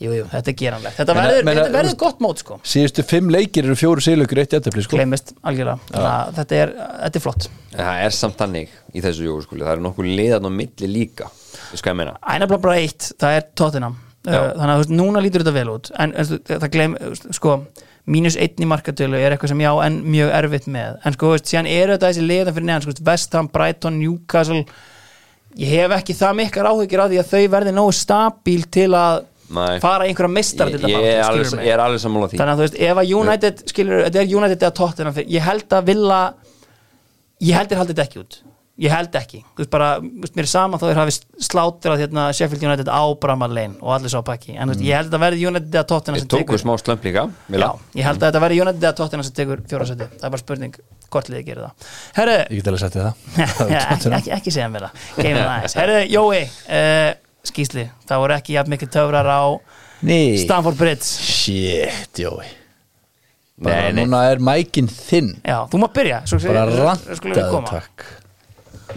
Jú, jú, þetta er geranlegt Þetta Meina- verður, meina, þetta þú verður veist- gott mót, sko Síðustu fimm leikir eru fjóru síðleikur eitt jættafli sko. Gleimist, algjörlega Þannig að Þetta er, þetta er flott en það er samt þannig í þessu júrskúli það eru nokkuð liðan og milli líka þú veist hvað ég meina Ænabla bara eitt, það er Tottenham Uh, Já. þannig að þú veist, núna lítur þetta vel út en en þú- það gleym, þú veist, sko mínus einn í markatölu er eitthvað sem já en mjög erfitt með, en sko, þú veist, síðan eru þetta þessi liðan fyrir neðan, sko, þú veist, West Ham, Brighton Newcastle, ég hef ekki það mikkar áhyggjur af því að þau verði nógu stabíl til að Nei. fara í einhverja mistar ég, ég, er alveg, ég er alveg sammála því þannig að þú veist, ef að United skilur, þetta er United eða Tottenham fyrir- ég held að vilja ég held þér haldið þetta ekki út ég held ekki, þú veist bara, þú veist, mér er sama þá er hafi slátrað hérna Sheffield United á Bramall Lane og allir sá pakki en þú veist, ég held að þetta verði United eða Tottenham ég sem tóku tekur smá slömp líka Já, Milla. Mm. ég held að þetta verði United eða Tottenham sem tekur fjóra seti, það er bara spurning hvort liðið gerir það Herru, Ég get alveg sagt þér það hérna. ekki, ekki, ekki segja mér það Geimum það aðeins, herru, Jói uh, skýsli, það voru ekki jafn mikil töfrar á Nei Stamford Bridge Shit, jói Nei, Bara nei. núna er mækin þinn Já, þú má byrja, svo Bara svo- skulum við rantaðu koma. takk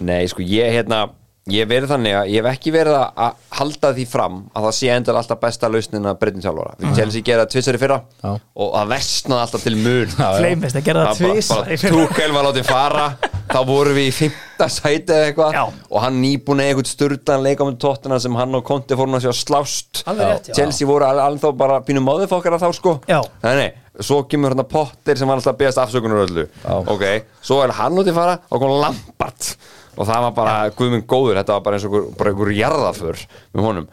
Nei, sko, ég hérna ég hef verið þannig að ég hef ekki verið að- að halda því fram að það sé endar alltaf besta lausnin að breytin þjálfara. Við tjáum sér gera tvissari fyrra Mhm. Já. og það versnaði alltaf til mun Já, já. Gleimist að gera það tvisvar í bara fyrra. túkel var látið fara þá vorum við í fimmta sæti eða eitthvað Já. og hann nýbúin eitthvað sturdan leika með tóttina sem hann og Konti fór hann að sjá slást Alveg rétt, já. Chelsea voru al- alveg þá bara pínum móðufokkara þá sko Já. nei, nei, svo kemur hann að Potter sem var alltaf að beðast afsökunar á öllu ok, svo er hann út í fara og kom Lampart og það var bara, guðminn góður þetta var bara eins og einhver- bara einhver jarðaför með honum,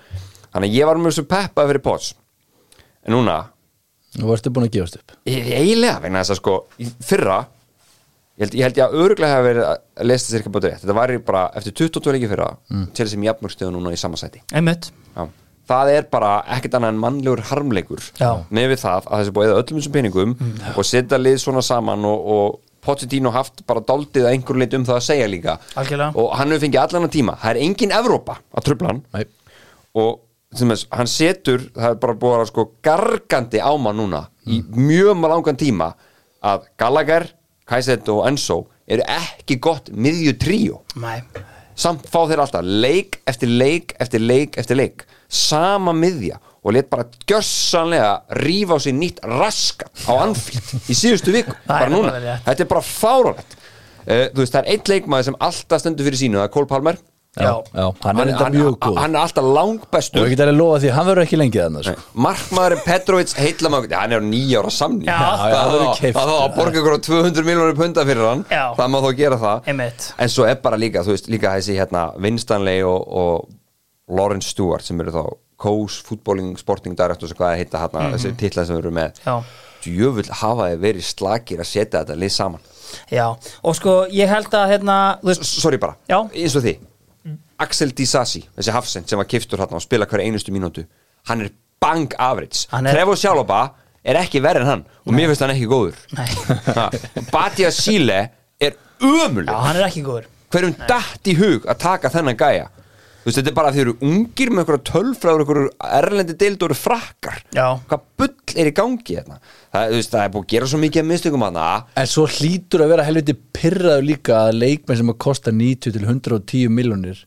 þannig að ég var mjög svo peppað fyrir Potts en núna, Nú varstu búin að gefast upp Ég- eiginlega vegna þess að sko í fyrra ég held ég, held ég að öruglega hafa verið að lesa sér ekki bátur rétt þetta var bara eftir 22 leiki fyrra mm. til þessum jafnmörgstöðu núna í samansæti Einmitt, Já. það er bara ekkert annað en mannlegur harmleikur Já. Mm. með við það að þessi búið eða öllum þessum peningum og setja lið svona saman og, og Pochettino haft bara daldið að einhver leit um það að segja líka Algjörlega. og hann hefur fengið allan að tíma það er engin Evrópa að tröfla hann Nei og sem þess, hann setur það er bara búið að vera, sko gargandi áma núna í Mm. mjög langan tíma að Gallagher, Kajset og Enzo eru ekki gott miðju tríó mæ samt fá þeir alltaf leik eftir leik eftir leik eftir leik sama miðja og let bara gjörsanlega rífa á sér nýtt raska á anfíld í síðustu viku bara er núna, bara rétt. þetta er bara fáralegt uh, þú veist, það er einn leikmaður sem alltaf stendur fyrir sínu, það er Cole Palmer Já, Já, hann er þetta hann, mjög góð hann er alltaf Og langbestur ég get alveg lofa því, hann verður ekki lengi þannig sko. Markmaðurinn Petrovic heitlamögn hann er á nýja ára samning Já. Já, já, það það er þá- keypt. það þá að borga ykkur á 200 miljónir punda fyrir hann Já. það má þá gera það Einmitt. en svo er bara líka, þú veist, líka þessi hérna Vinstanley og, og Lawrence Stewart sem eru þá Kós, Footballing, Sporting Directors og hvað það heita hérna, þessi titla sem við erum með Mhm. Já. djöfull hafa þið verið slakir að setja þetta lið saman Já, og sko ég held að hérna, þú veist, sorry bara, Já. eins og því Axel Disasi, þessi hafsend sem var kiftur hérna og spila hverja einustu mínútu hann er bang average Hann er- Trevor Sjálóba er ekki verri en hann og mér finnst hann ekki góður Nei. Ha, Batia Síle er já, ömuleg hann er ekki góður hverjum datt í hug að taka þennan gæja þú veist, þetta er bara að þið eru ungir með einhverja tölfræður, einhverju erlendi deild og eru frakkar, Já. hvað bull er í gangi hérna, það, þú veist, það er búið að gera svo mikið að mistökum hana, En svo hlýtur að vera helviti pyrraðu líka að leikmenn sem að kosta 90 til 110 miljónir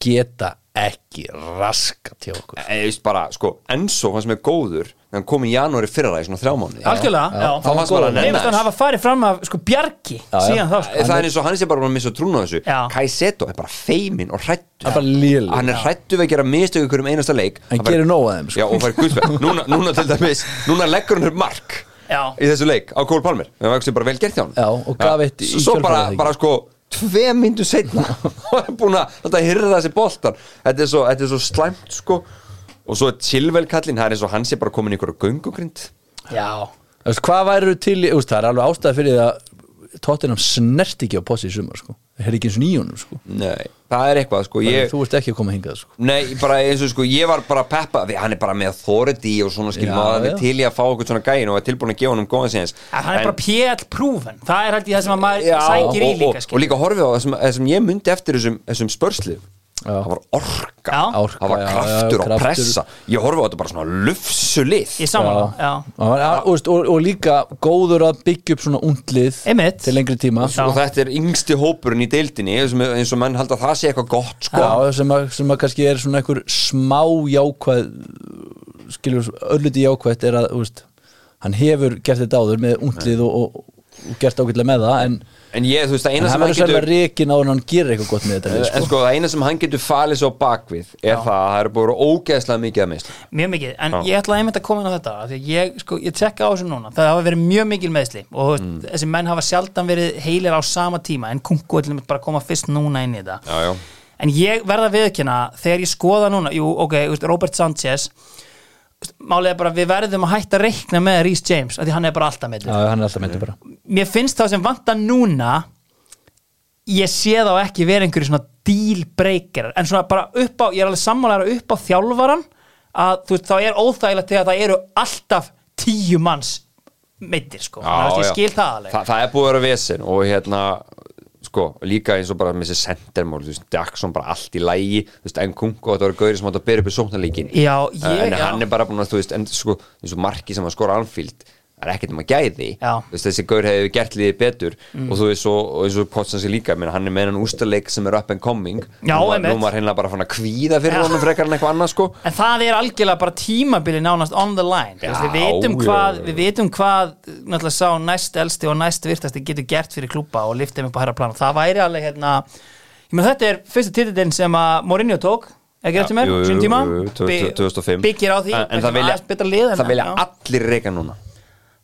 geta ekki raskat hjá okkur. ég veist bara, sko Enzo, hann sem er góður, þegar hann kom í janúari fyrra í svona þrjá mánuði Algjörlega, já. já, Þá fannst maður að Mér nenna finnst hann þessu. hafa farið fram af sko bjargi já. síðan þá sko það er eins og hann sé bara búin að missa trúna á þessu Já. Kaiseto er bara feimin og hrættu Það er bara lélegur. hann er hrættu við að gera mistök í hverjum einasta leik Hann bara- gerir nóg af þeim, sko. já, og fær guðsverð núna, núna til dæmis, núna leggur hann upp mark Já. í þessu leik á Kól Palmer það var ekki sem bara vel gert hjá hann Já, og gaf eitt í svo kjölfarið, bara, ekki? bara sko tvei myndu setna var hann búin að þetta hirða þessi boltan þetta er svo, þetta er svo slæmt sko og svo er Chilwell kallinn, það er eins og hann sé bara komin í einhverju göngugrind Já, Þú veist, Hvað væru til, í- þú veist, það er alveg ástæða fyrir því að Tottenham snert ekki á posi í sumar, sko. Það er ekki eins og nýjónum, sko. Nei, það er eitthvað sko ég, Þú ert ekki að koma hingað, sko. Nei, bara eins og sko, ég var bara að peppa því hann er bara með authority og svona skil Já, maður að já. við til í að fá okkur svona gæin og er tilbúin að gefa honum góðan síðans en hann er bara PL prúfen Það er held ég það sem að maður já, sækir í og, og, líka og skil líka horfið á það sem, það sem ég myndi eftir þessum, þessum spörslu Já. það var orka, Já. Orka, það var já, kraftur já, og kraftur. pressa ég horfið á þetta bara svona lufsulið Ég saman, já Og, og, og, og líka góður að byggja upp svona undlið Einmitt. til lengri tíma Já. og þetta er yngsti hópurinn í deildinni sem, eins og menn halda að það sé eitthvað gott sko. Já, sem, að, sem að kannski er svona einhver smá jákvæð skilur ölluti jákvætt er að þú veist, hann hefur gert þetta áður með unglið og, og, og gert ágætlega með það en, en ég, þú veist, það en eina hann sem hann verður selva getur reikin á en hann gerir eitthvað gott með þetta lið, en sko. sko, það eina sem hann getur falið svo bakvið er það að það eru búin ógeðslega mikið að misla Mjög mikið, en Já. ég ætla einmitt að koma inn á þetta af því að ég, sko, ég tekka á þessu núna það hafa verið mjög mikil meðsli og mm. þessi menn hafa sjaldan verið heilir á sama tíma en Kunku er til dæmis bara að koma fyrst núna inn í þetta já, já. en ég verða að viðkynna þegar ég skoða núna, jú, ok, þú veist, Robert Sanchez þú veist, málið er bara að við verðum að hætta að reikna með Rhys James af því hann er bara alltaf með Já, hann er alltaf myndið bara mér finnst það sem vanta núna ég sé þá ekki vera einhverju svona deal breaker en svona bara upp á, ég er alveg sammálaður upp á þjálfaran að þú veist þá er óþægilegt þegar það eru alltaf tíu manns meittir sko, Já, þannig að ég já. skil það alveg Þa, það er búið að vera vesen og hérna sko, líka eins og bara með þessi sendermál, þú veist, Jackson bara allt í lægi þú veist, en Kunko, þetta var gauri sem átt að byrja upp í sóknarleikin Já, ég- en já. hann er bara búin að, þú veist, en sko eins og marki sem að skora anfíld það er ekkert um að gæði, Já. Mm. Þú veist, þessi gaur hefur gert liðið betur og þú veist, og, og eins og Potsansi líka, menn hann er með hann ústaleik sem er up and coming, Já, nú var, einmitt. nú var hérna bara fann að kvíða fyrir Já. honum frekar en eitthvað annað, sko en það er algjörlega bara tímabili nánast on the line já, Já, við vitum já, hvað, já. við vitum hvað eh, náttúrulega sá næst elsti og næst virtasti getur gert fyrir klúpa og liftið með bara herra plana það væri alveg hérna ég menn þetta er fyrsta titillin sem að Mourinho tók ekki eftir mér, Jú, jú, sín tíma jú, jú, 2005 byggir á því, en, en það vilja, aðeins betra lið en- það vilja já. allir reyka núna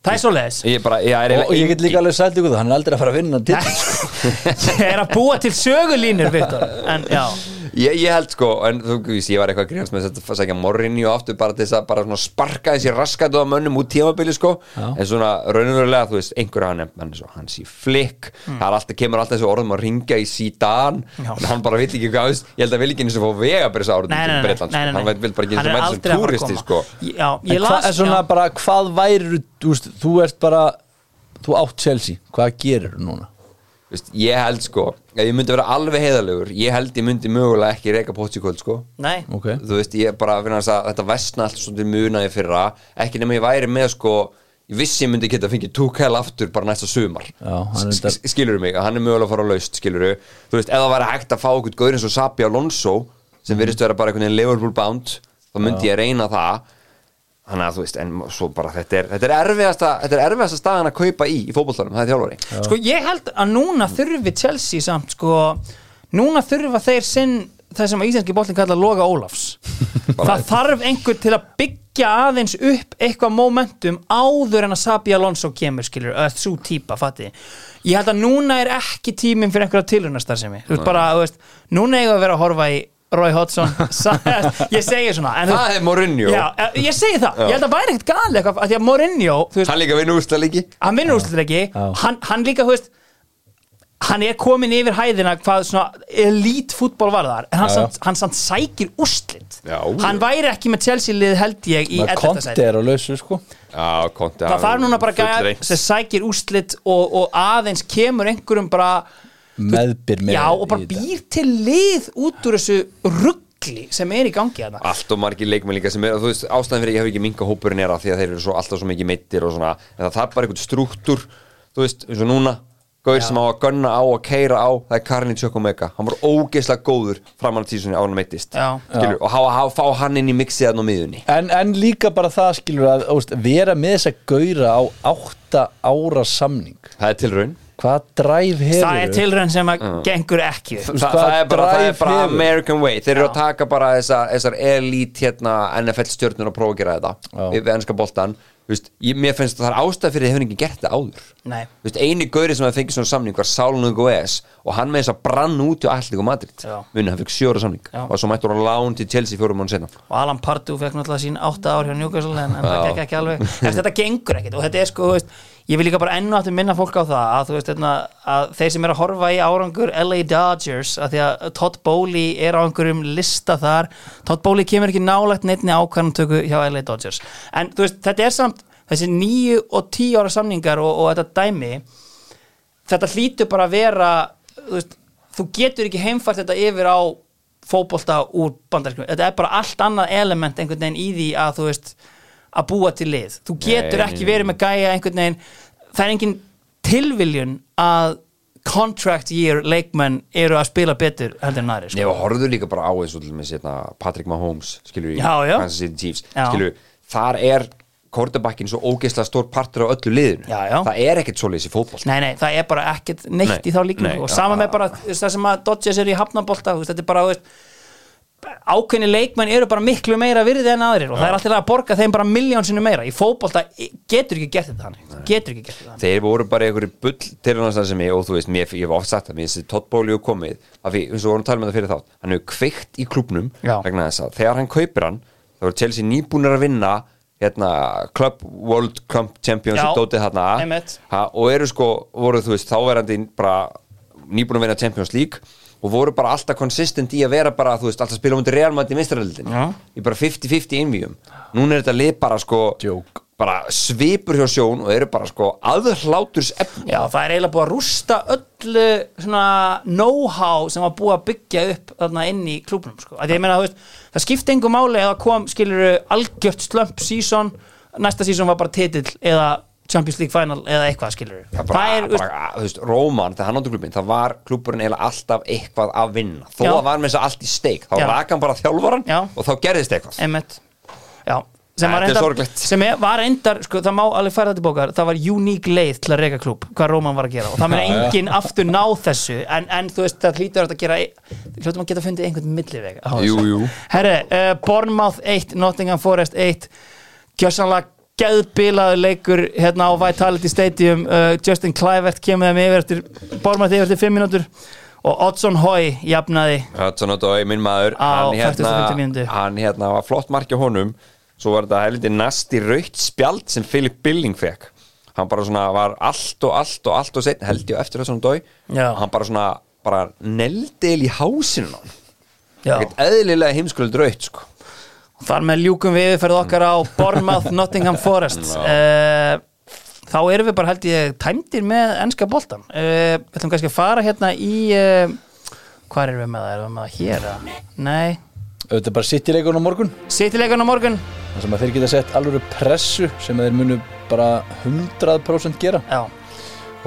það er svo leiðis ég bara, já, er og, eiginlega og ég engin- get líka alveg sælt ykkur það, hann er aldrei að fara að vinna til ég er að búa til sögulínur Viktor, en já Ég, ég held sko, en þú veist, ég var eitthvað að grínast með þetta að segja morrinni og aftur bara til þess að bara svona sparka þessi raskat á mönnum út tímabili sko, Já. en svona raunverulega þú veist, einhverja hann nefnt, hann er svo hans í flikk það er alltaf, kemur alltaf þessu orðum að ringja í sídan, Mm. Já. en hann bara veit ekki hvað veist, ég held að vil ekki eins og fá vega bara þessu Nei, árið nei, til nei, Breitland, nei, nei, sko. nei. hann veit- vil bara ekki eins Hann er og menn aldrei að fara sem að túristi koma. sko Já, ég en las hvað er svona já. bara, hvað væri þú, veist, þú ert bara, þú átt Chelsea hvað gerir þú núna? Vist, ég held sko, ef ég myndi vera alveg heiðalegur ég held ég myndi mögulega ekki reyka potsikóld sko nei, Okay. þú veist, ég bara finna þess að þetta vestna allt svo til munaði fyrra, ekki nema ég væri með sko, ég vissi ég myndi geta að fengið túkæl aftur bara næsta sumar Já, hann er S- þetta- s- skilurðu mig, hann er mögulega að fara á laust skilurðu, þú veist, ef það væri hægt að fá okkur gaur eins og Sabi Alonso Mhm. sem virðist vera bara einhvern veginn Liverpool bound þá myndi ég reyna það þannig að þú veist, en svo bara þetta er þetta er erfiðasta, þetta er erfiðasta staðan að kaupa í í fótbolltarum, það er þjálfari Sko ég held að núna þurfi Chelsea samt sko Núna þurfa þeir sinn það sem að íslenski bóttin kalla Loga Ólafs Það þarf einhver til að byggja aðeins upp eitthvað momentum áður en að Sabi Alonso kemur skilur eða svo típa, fatti Ég held að núna er ekki tíminn fyrir einhverja tilhunastar sem ég Þú veist bara, þú veist, núna eigum við að vera að horfa í Roy Hodgson sagðist- ég segi svona en, þú- Það er Mourinho já, eh, ég segi það, ég held að væri ekkert gali eitthvað, af því að Mourinho, þú veist, Hann líka vinnu úrsta líki hann vinnur úrslutleiki Já. hann, hann líka, þú veist hann er komin yfir hæðina hvað svona elít fútból var þar en hann, Já, já. samt, hann samt sækir úrslit Já, hann já. væri ekki með Chelsea lið held ég í 11. Konti sæti er á lausu sko Já, konti það þarf núna bara gæja fullreynt. sem sækir úrslit og, og aðeins kemur einhverjum bara meðbyr með já og bara í þetta. býr til lið út úr þessu ruggli sem er í gangi þarna allt og margir leikmenn líka sem er, þú veist, ástæðan fyrir ég hef ekki minga hópurinn er að því að þeir eru svo alltaf svo mikið meittir og svona, en það þarf bara einhvern struktúr, þú veist, eins og núna Gaur sem á að gönna á og keira á það er Karin Tjökumeka, hann var ógeðslega góður framan að tísunni á hann meittist Já. Skilur, og hafa að fá hann inn í mixið þannig á miðunni en, en líka bara það skilur að óst, vera með þess að gauðra á átta ára samning það er tilraun hvað dræf hefur það er tilrönd sem að Mm. gengur ekki upp. Þa, það, Hvað er bara, það er drive bara hefur? American way þeir eru að taka bara þessa, þessar elite hérna, NFL stjörnur og prófa að gera þetta Já. við við ennska boltan Þú veist, ég, mér finnst að það er ástæð fyrir að hefur ekki gert þetta áður Nei. Þú veist, eini gauri sem hefði fengið svona samning var Sálunnur Góes og hann með þess að brann út í Allíku Madrid Já. muni, hann fekk sjóra samning Já. Sko. og svo mættur hann lán til Chelsea fjórum mánu senna og Alan Pardew fekk náttúrulega sín átta ár hjá Newcastle en, en það gekk ekki alveg Eftir, þetta gengur ekkit og þetta er sko þú veist, ég vil líka bara enn og aftur minna fólk á það að, þú veist, hérna, að þeir sem eru að horfa í árangur LA Dodgers að því að Todd Bowley er á einhverjum lista þar Todd Bowley kemur ekki nálægt neittni ákvarðantöku hjá LA Dodgers en þú veist, þetta er samt þessi nýju og tíu ára samningar og, og þetta dæmi þetta hlýtur bara að vera þú, veist, þú getur ekki heimfært þetta yfir á fótbolta úr bandaríkjum þetta er bara allt annað element einhvern veginn í því að þú veist að búa til lið, þú getur Nei. ekki verið með gæja einhvern veginn, það er engin tilviljun að contract year leikmenn eru að spila betur heldur en aðri Nei, sko. og horfðu líka bara á þessu til með sérna Patrick Mahomes, skilur við, Já, já. Kansas City Chiefs, Já. skilur við, þar er kortabakkin svo ógeðslega stór partur á öllu liðinu. Já, já. Það er ekkert svoleiðis í fótboll. Nei, nei, það er bara ekkert neitt Nei, í þá líkinu nei, og sama já, með bara þú veist, það sem að Dodgers eru í hafnabolta þú veist, þetta er bara, þú veist ákveðni leikmenn eru bara miklu meira virði en aðrir og það er alltaf að borga þeim bara miljón sinni meira í fótbolta í- getur ekki gert þetta þannig getur ekki gert þetta þannig Þeir voru bara í einhverju bull til hann sem ég, og þú veist, mér, ég hef oft sagt það, mér þessi tóttbóliu komið, af því, eins og vorum að tala með það fyrir þátt, hann hefur kveikt í klubnum Já. vegna þess að þegar hann kaupir hann, þá voru Chelsea nýbúnir að vinna hérna, Club World Club Champions Já, dótið þarna einmitt. ha, og eru sko, voru þú veist, þáverandi bara nýbúin að vinna Champions League og voru bara alltaf consistent í að vera bara, þú veist, alltaf spila um þetta realmætt í mistraröldin Já. í bara 50-50 innvíum núna er þetta lið bara sko Djók. bara svipur hjá sjón og eru bara sko aðhláturs efni Já, það er eiginlega búið að rústa öllu svona know-how sem var búið að byggja upp þarna inn í klúbnum sko. Að ég meina, þú veist, það skipti engu máli eða kom, skilur, algjört slump season, næsta season var bara titill eða Champions League final eða eitthvað, skilur það bara, bara, þú veist, Róman, þegar hann áttu klubin það var kluburinn eiginlega alltaf eitthvað að vinna þó Já. að var með þess að allt í steik þá Já. rak hann bara þjálfaran Já. og þá gerðist eitthvað Emmett Já, sem Nei, var þetta er reyndar, sorglegt. sem er- var reyndar sko, það má alveg færa þetta bókar, það var uník leið til að reyka klúb, hvað Róman var að gera og það meina enginn aftur ná þessu en, en þú veist, það hlýtur þetta að gera hljóttum að geta fundið einhvern milliveg á Jú, þessu. jú. Herre, uh, Bournemouth 1, Nottingham Forest 1 gjössanlega geðbilaður leikur hérna á Vitality Stadium uh, Justin Clivert kemur þeim yfir eftir Bournemouth yfir eftir 5 mínútur og Oddsson Hoy jafnaði Hudson Odoi, minn maður Á hann, hérna, 45. hann hérna var flott markja honum svo var þetta heldur næsti raukt spjald sem Philip Billing fekk hann bara svona var allt og allt og allt og setn held ég á eftir Hudson Odoi Já. hann bara svona bara neldil í hásinu hann Já. ekkert eðlilega heimskuld raukt sko. Þar með ljúkum við yfirferð okkar á Bournemouth Nottingham Forest uh, Þá erum við bara held ég tæmdir með ennska boltan uh, Við ætlum kannski að fara hérna í uh, Hvar erum við með það? Erum við með það hér? eða? Nei auðvitað bara sitt í leikunum morgun Sittileikan á morgun þar sem að þeir geta sett alvöru pressu sem að þeir munu bara 100% gera Já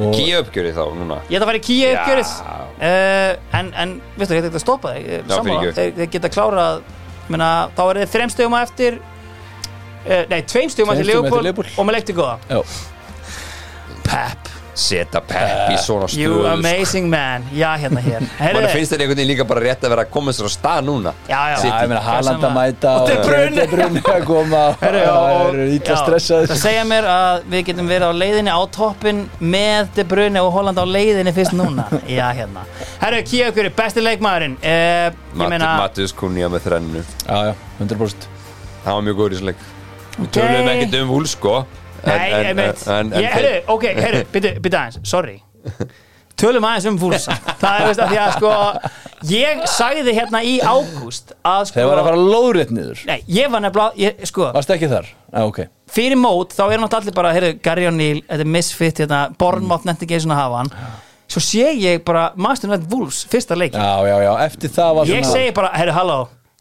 og Gíu uppgjöri þá núna Ég ætla að fara í kíu Já. uppgjörið uh, En, en veistu, ég ætla ekki að stoppa þig Ég er Já, sammála. fyrirgefðu. þeir, þeir geta klárað menna, Þá eru þeir þrem stegum á eftir uh, Nei, tveim stegum á eftir Tveim stigum á eftir Leopold Liverpool. Og maður leikti góða já, Pep setja pepp í svona Eh, You stöðu sko. amazing man Já, hérna hér mann Heyrðu, finnst þetta einhvern veginn líka bara rétt að vera að koma sér á stað núna Já, já. City. Já, ég meina Haaland að Sama. mæta Og De Bruyne. De Bruyne að koma Herri, og eru ítla já, stressaður Það segja mér að við getum verið á leiðinni á toppin með De Bruyne og Holland á leiðinni fyrst núna Já, hérna Herru, kíu okkur, besti leikmaðurinn eh, Ég Mat- meina Matheus Kunja með þrennu Já, já, 100% hann var mjög góður í þessum leik við tölum ekkert um húl sko en- Nei, en- einmitt en- en- Ég- Herru, ok, herru, byrju byrju aðeins, sorry Tölum aðeins um fúlsa Það er veist að því að sko Ég sagði hérna í ágúst að sko Þeir var að fara lóðrétt niður Nei, ég var nefnilega, ég, sko Varstu ekki þar? Já, ok fyrir mót þá er náttúrulega allir bara heyrðu, Gary O'Neill, þetta er misfit hérna, Bornmátt Mm. nefndi ekki einu sinni að hafa hann svo sé ég bara Master Night Wolves fyrsta leikin, Já, já, já, eftir það var ég segi bara, heyrðu, halló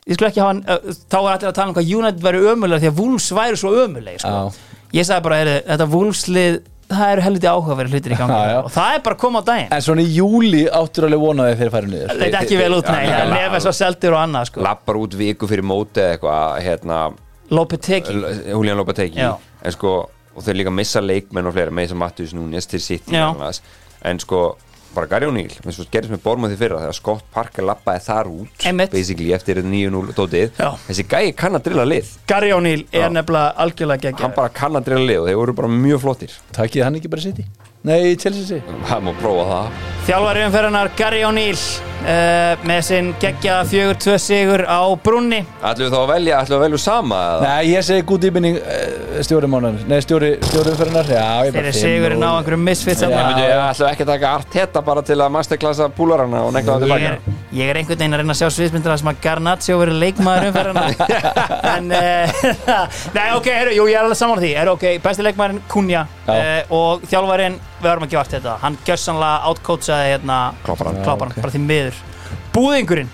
ég skulle ekki hafa hann, uh, þá var allir að tala um hvað United væri ömulega því að Wolves væri svo ömuleg sko. Já. ég sagði bara, heyrðu, þetta Wolveslið það eru helviti áhugaverið hlutir í gangi Já, já. og það er bara að koma á daginn En svona í júli áttur alveg vonaði þeir færi niður þetta er ekki vel út, Já, nei, líka það er lag. nefnir svo seldir og annað, sko, lappar út viku fyrir móti eða eitthvað hérna, Lopetegi L- Julian Lopateki Já. en sko, og þeir líka missa leikmenn og fleira með þess að Matheus Núnes til sitt Já. en sko, bara Gary O'Neill eins og gerðist með Bormóð því fyrra þegar Scott Parker lappaði þar út Einmitt. basically eftir 9-0 dótið Já. þessi gæi kann að drilla lið Gary O'Neill er Já. nefnilega algjörlega hann geggjör bara kann að drilla lið og þeir voru bara mjög flottir Takkiði hann ekki bara sitt í? Nei, til þessi hann má prófa það Þjálfari umferðanar Gary O'Neill uh, með sinn geggja 4-2 sigur á brunni ætlum við þá að velja, ætlum við að velja sama eða? Nei, ég segi gúti íbynning uh, stjóri mánar Nei, stjóri, stjóri umferðarnar Já, ég bara fyrir sigurinn á einhverjum misfits Já. þarna. Nei, ég ætlum ekki að taka Arteta bara til að masterklassa púlarana og negla það ég, tilbaka er- ég er einhvern veginn að reyna að sjá sviðsmyndina þar sem að Garnaccio verið leikmaður umferðanar en uh, nei ok, heru, jú, ég er alveg saman því heru, okay, besti leikmaðurinn Kunja Já. uh, og þjálfarin, við höfum ekki vart þetta hann gjössanlega outcoachaði hérna Klopparan. Já, klopparan, ok. bara því miður búðingurinn,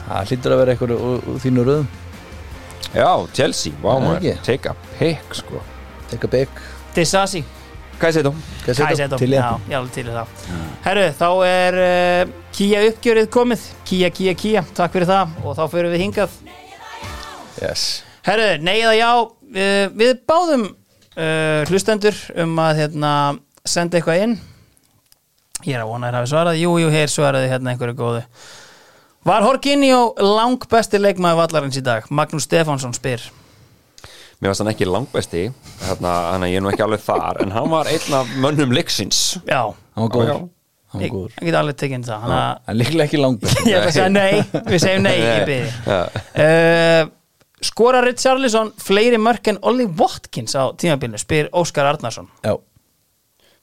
Það hlýtur að vera einhverju úr- úr þínu röðum Já, Chelsea, vá Já, maður, ekki. take a pick sko Tekka bygg Disasi Hvað segir þú? Kaisetum, Til já, ég já, alveg til í það Herru, þá er uh, Kia uppgjörið komið Kia, Kia, Kia, takk fyrir það og þá fyrir við hingað Yes Herru, nei eða já, uh, við báðum uh, hlustendur um að hérna, senda eitthvað inn Ég er að vona að þér hafi svarað Jú, jú, hér svaraði hérna einhverju góðu Var Horkinjó lang besti leikmaði vallarins í dag? Magnús Stefánsson spyr Mér varst hann ekki langbæsti Þannig að ég er nú ekki alveg þar En hann var einn af mönnum leiksins Já, Hann var Já, góður já. Hann var ég, góður ég get alveg tekinn það Þannig að En líklega ekki langbæst Ég ætla að segja nei, við segjum nei í byrði Já. uh, Skora Richarlison fleiri mörk en Olli Watkins á tímabilinu spyr Óskar Arnarsson Já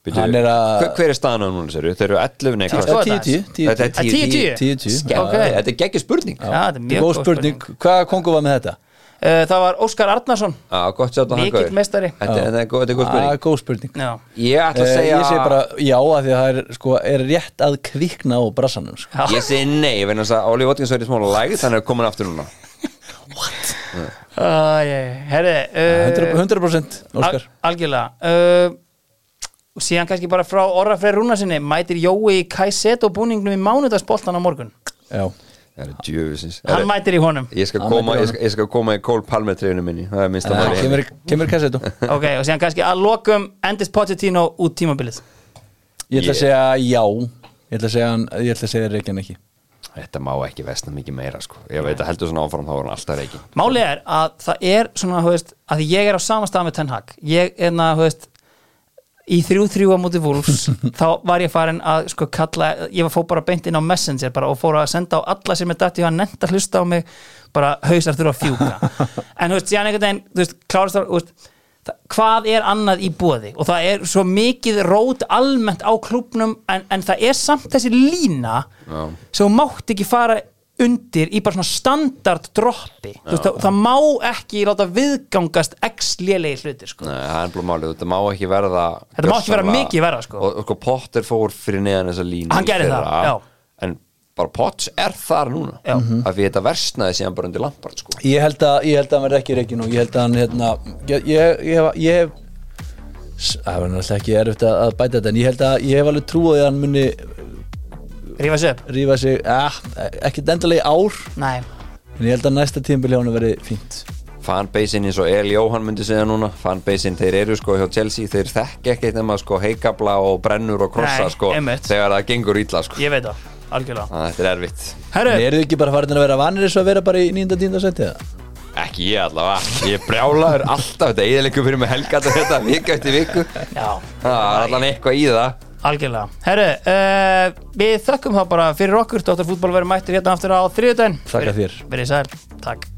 Bíddu, Hann er að- hver- Hver er staðan á núna, sér? Þeir eru 11, nei, hvað Sko, Það er 10-10 Þetta er 10-10 10-10. 10-10 10-10 Skegg. Já, Ok. já. Þetta er geggjur spurning Já, þetta er mjög Góð góð spurning, hvað kongu var með þetta? uh, Það var Óskar Arnarsson Já, gott sjátt á hann Mikill meistari. Þetta þetta er góð þetta er góð Ah, spurning Góð spurning Já, Ég ætla að Eh, segja Ég segi bara já að því að það er, sko, er rétt að kvikna á brassanum sko. Já. Ég segi nei, vegna þess að Óli Votkins verið smála lægð Þannig að komin aftur núna uh, ég, herri uh, 100%, 100% Óskar Al- Algjörlega uh, Síðan kannski bara frá Orra Freyr Rúna sinni Mætir Jói í Kaiseto búningnum í mánudagsboltan á morgun Já, Það er djöfisins Hann mætir í honum Ég skal Hann koma, mætir ég skal, ég skal koma í Cole Palmer trefinu minni Það er minnst að það kemur, kemur kassetu Ok, og síðan kannski að lokum Endist Pochettino út tímabilið Ég ætla Ég- að segja já Ég ætla að segja, hann- ég ætla að segja reikin ekki Þetta má ekki vestna mikið meira sko Ég veit að heldur svona áfram þá var hann alltaf reikin Málið er að það er svona, þú veist, að því ég er á sama stað með Ten Hag ég er na, þú veist í 3-3 á móti Wolves þá var ég farin að sko kalla ég var fór bara beint inn á Messenger bara, og fór að senda á alla sem er dætti og hann nefnt að hlusta á mig bara hausar þurfa að fjúka en þú veist, síðan einhvern veginn þú veist, klárast þá, þú veist það- hvað er annað í bóði og það er svo mikið rót almennt á klubnum en, en það er samt þessi lína Já. sem þú mátt ekki fara undir í bara svona standard droppi Þú veist, það, það má ekki láta viðgangast x lélegi hlutir sko. Nei, það er bara málið, þetta má ekki verða Þetta má ekki vera gjörsamlega- mikið verra, sko. og, og sko Potter fór fyrir neðan þessa línu Hann í gerði fyrra, það, já. En bara Potts er þar núna Já. Mhm. Af því þetta versnaði síðan bara undir Lampard sko Ég held að, ég held að hann verði ekki reikin og ég held að hann hérna, ég, ég, ég, hef- ég hef- s- það var náttúrulega ekki erfitt að, að bæta þetta en ég held að ég hef alveg trúið að hann muni rífa sig upp rífa sig, ah, ekkert endalega í ár Nei. en ég held að næsta tímpil hjá hann verði fínt fanbasein eins og El Jóhann myndi segja núna fanbasein, þeir eru sko hjá Chelsea þeir þekki ekkert nema sko heikabla og brennur og krossa Nei, sko einmitt. þegar það gengur ítla sko Ég veit það, algjörlega Þannig að þetta er erfitt Herru, En eru þið ekki bara farin að vera vanir þessu að vera bara í 9. 10. seti eða? ekki ég allavega, ég brjálaður alltaf þetta eðalegum fyrir mig helgat þetta viku eftir viku já, það er allan eitthvað í það algjörlega Herru, uh, við þökkum þá bara fyrir okkur Dóttar fútból verður mættir hérna aftur á þriðudaginn Þakka þér. Verið sæl, takk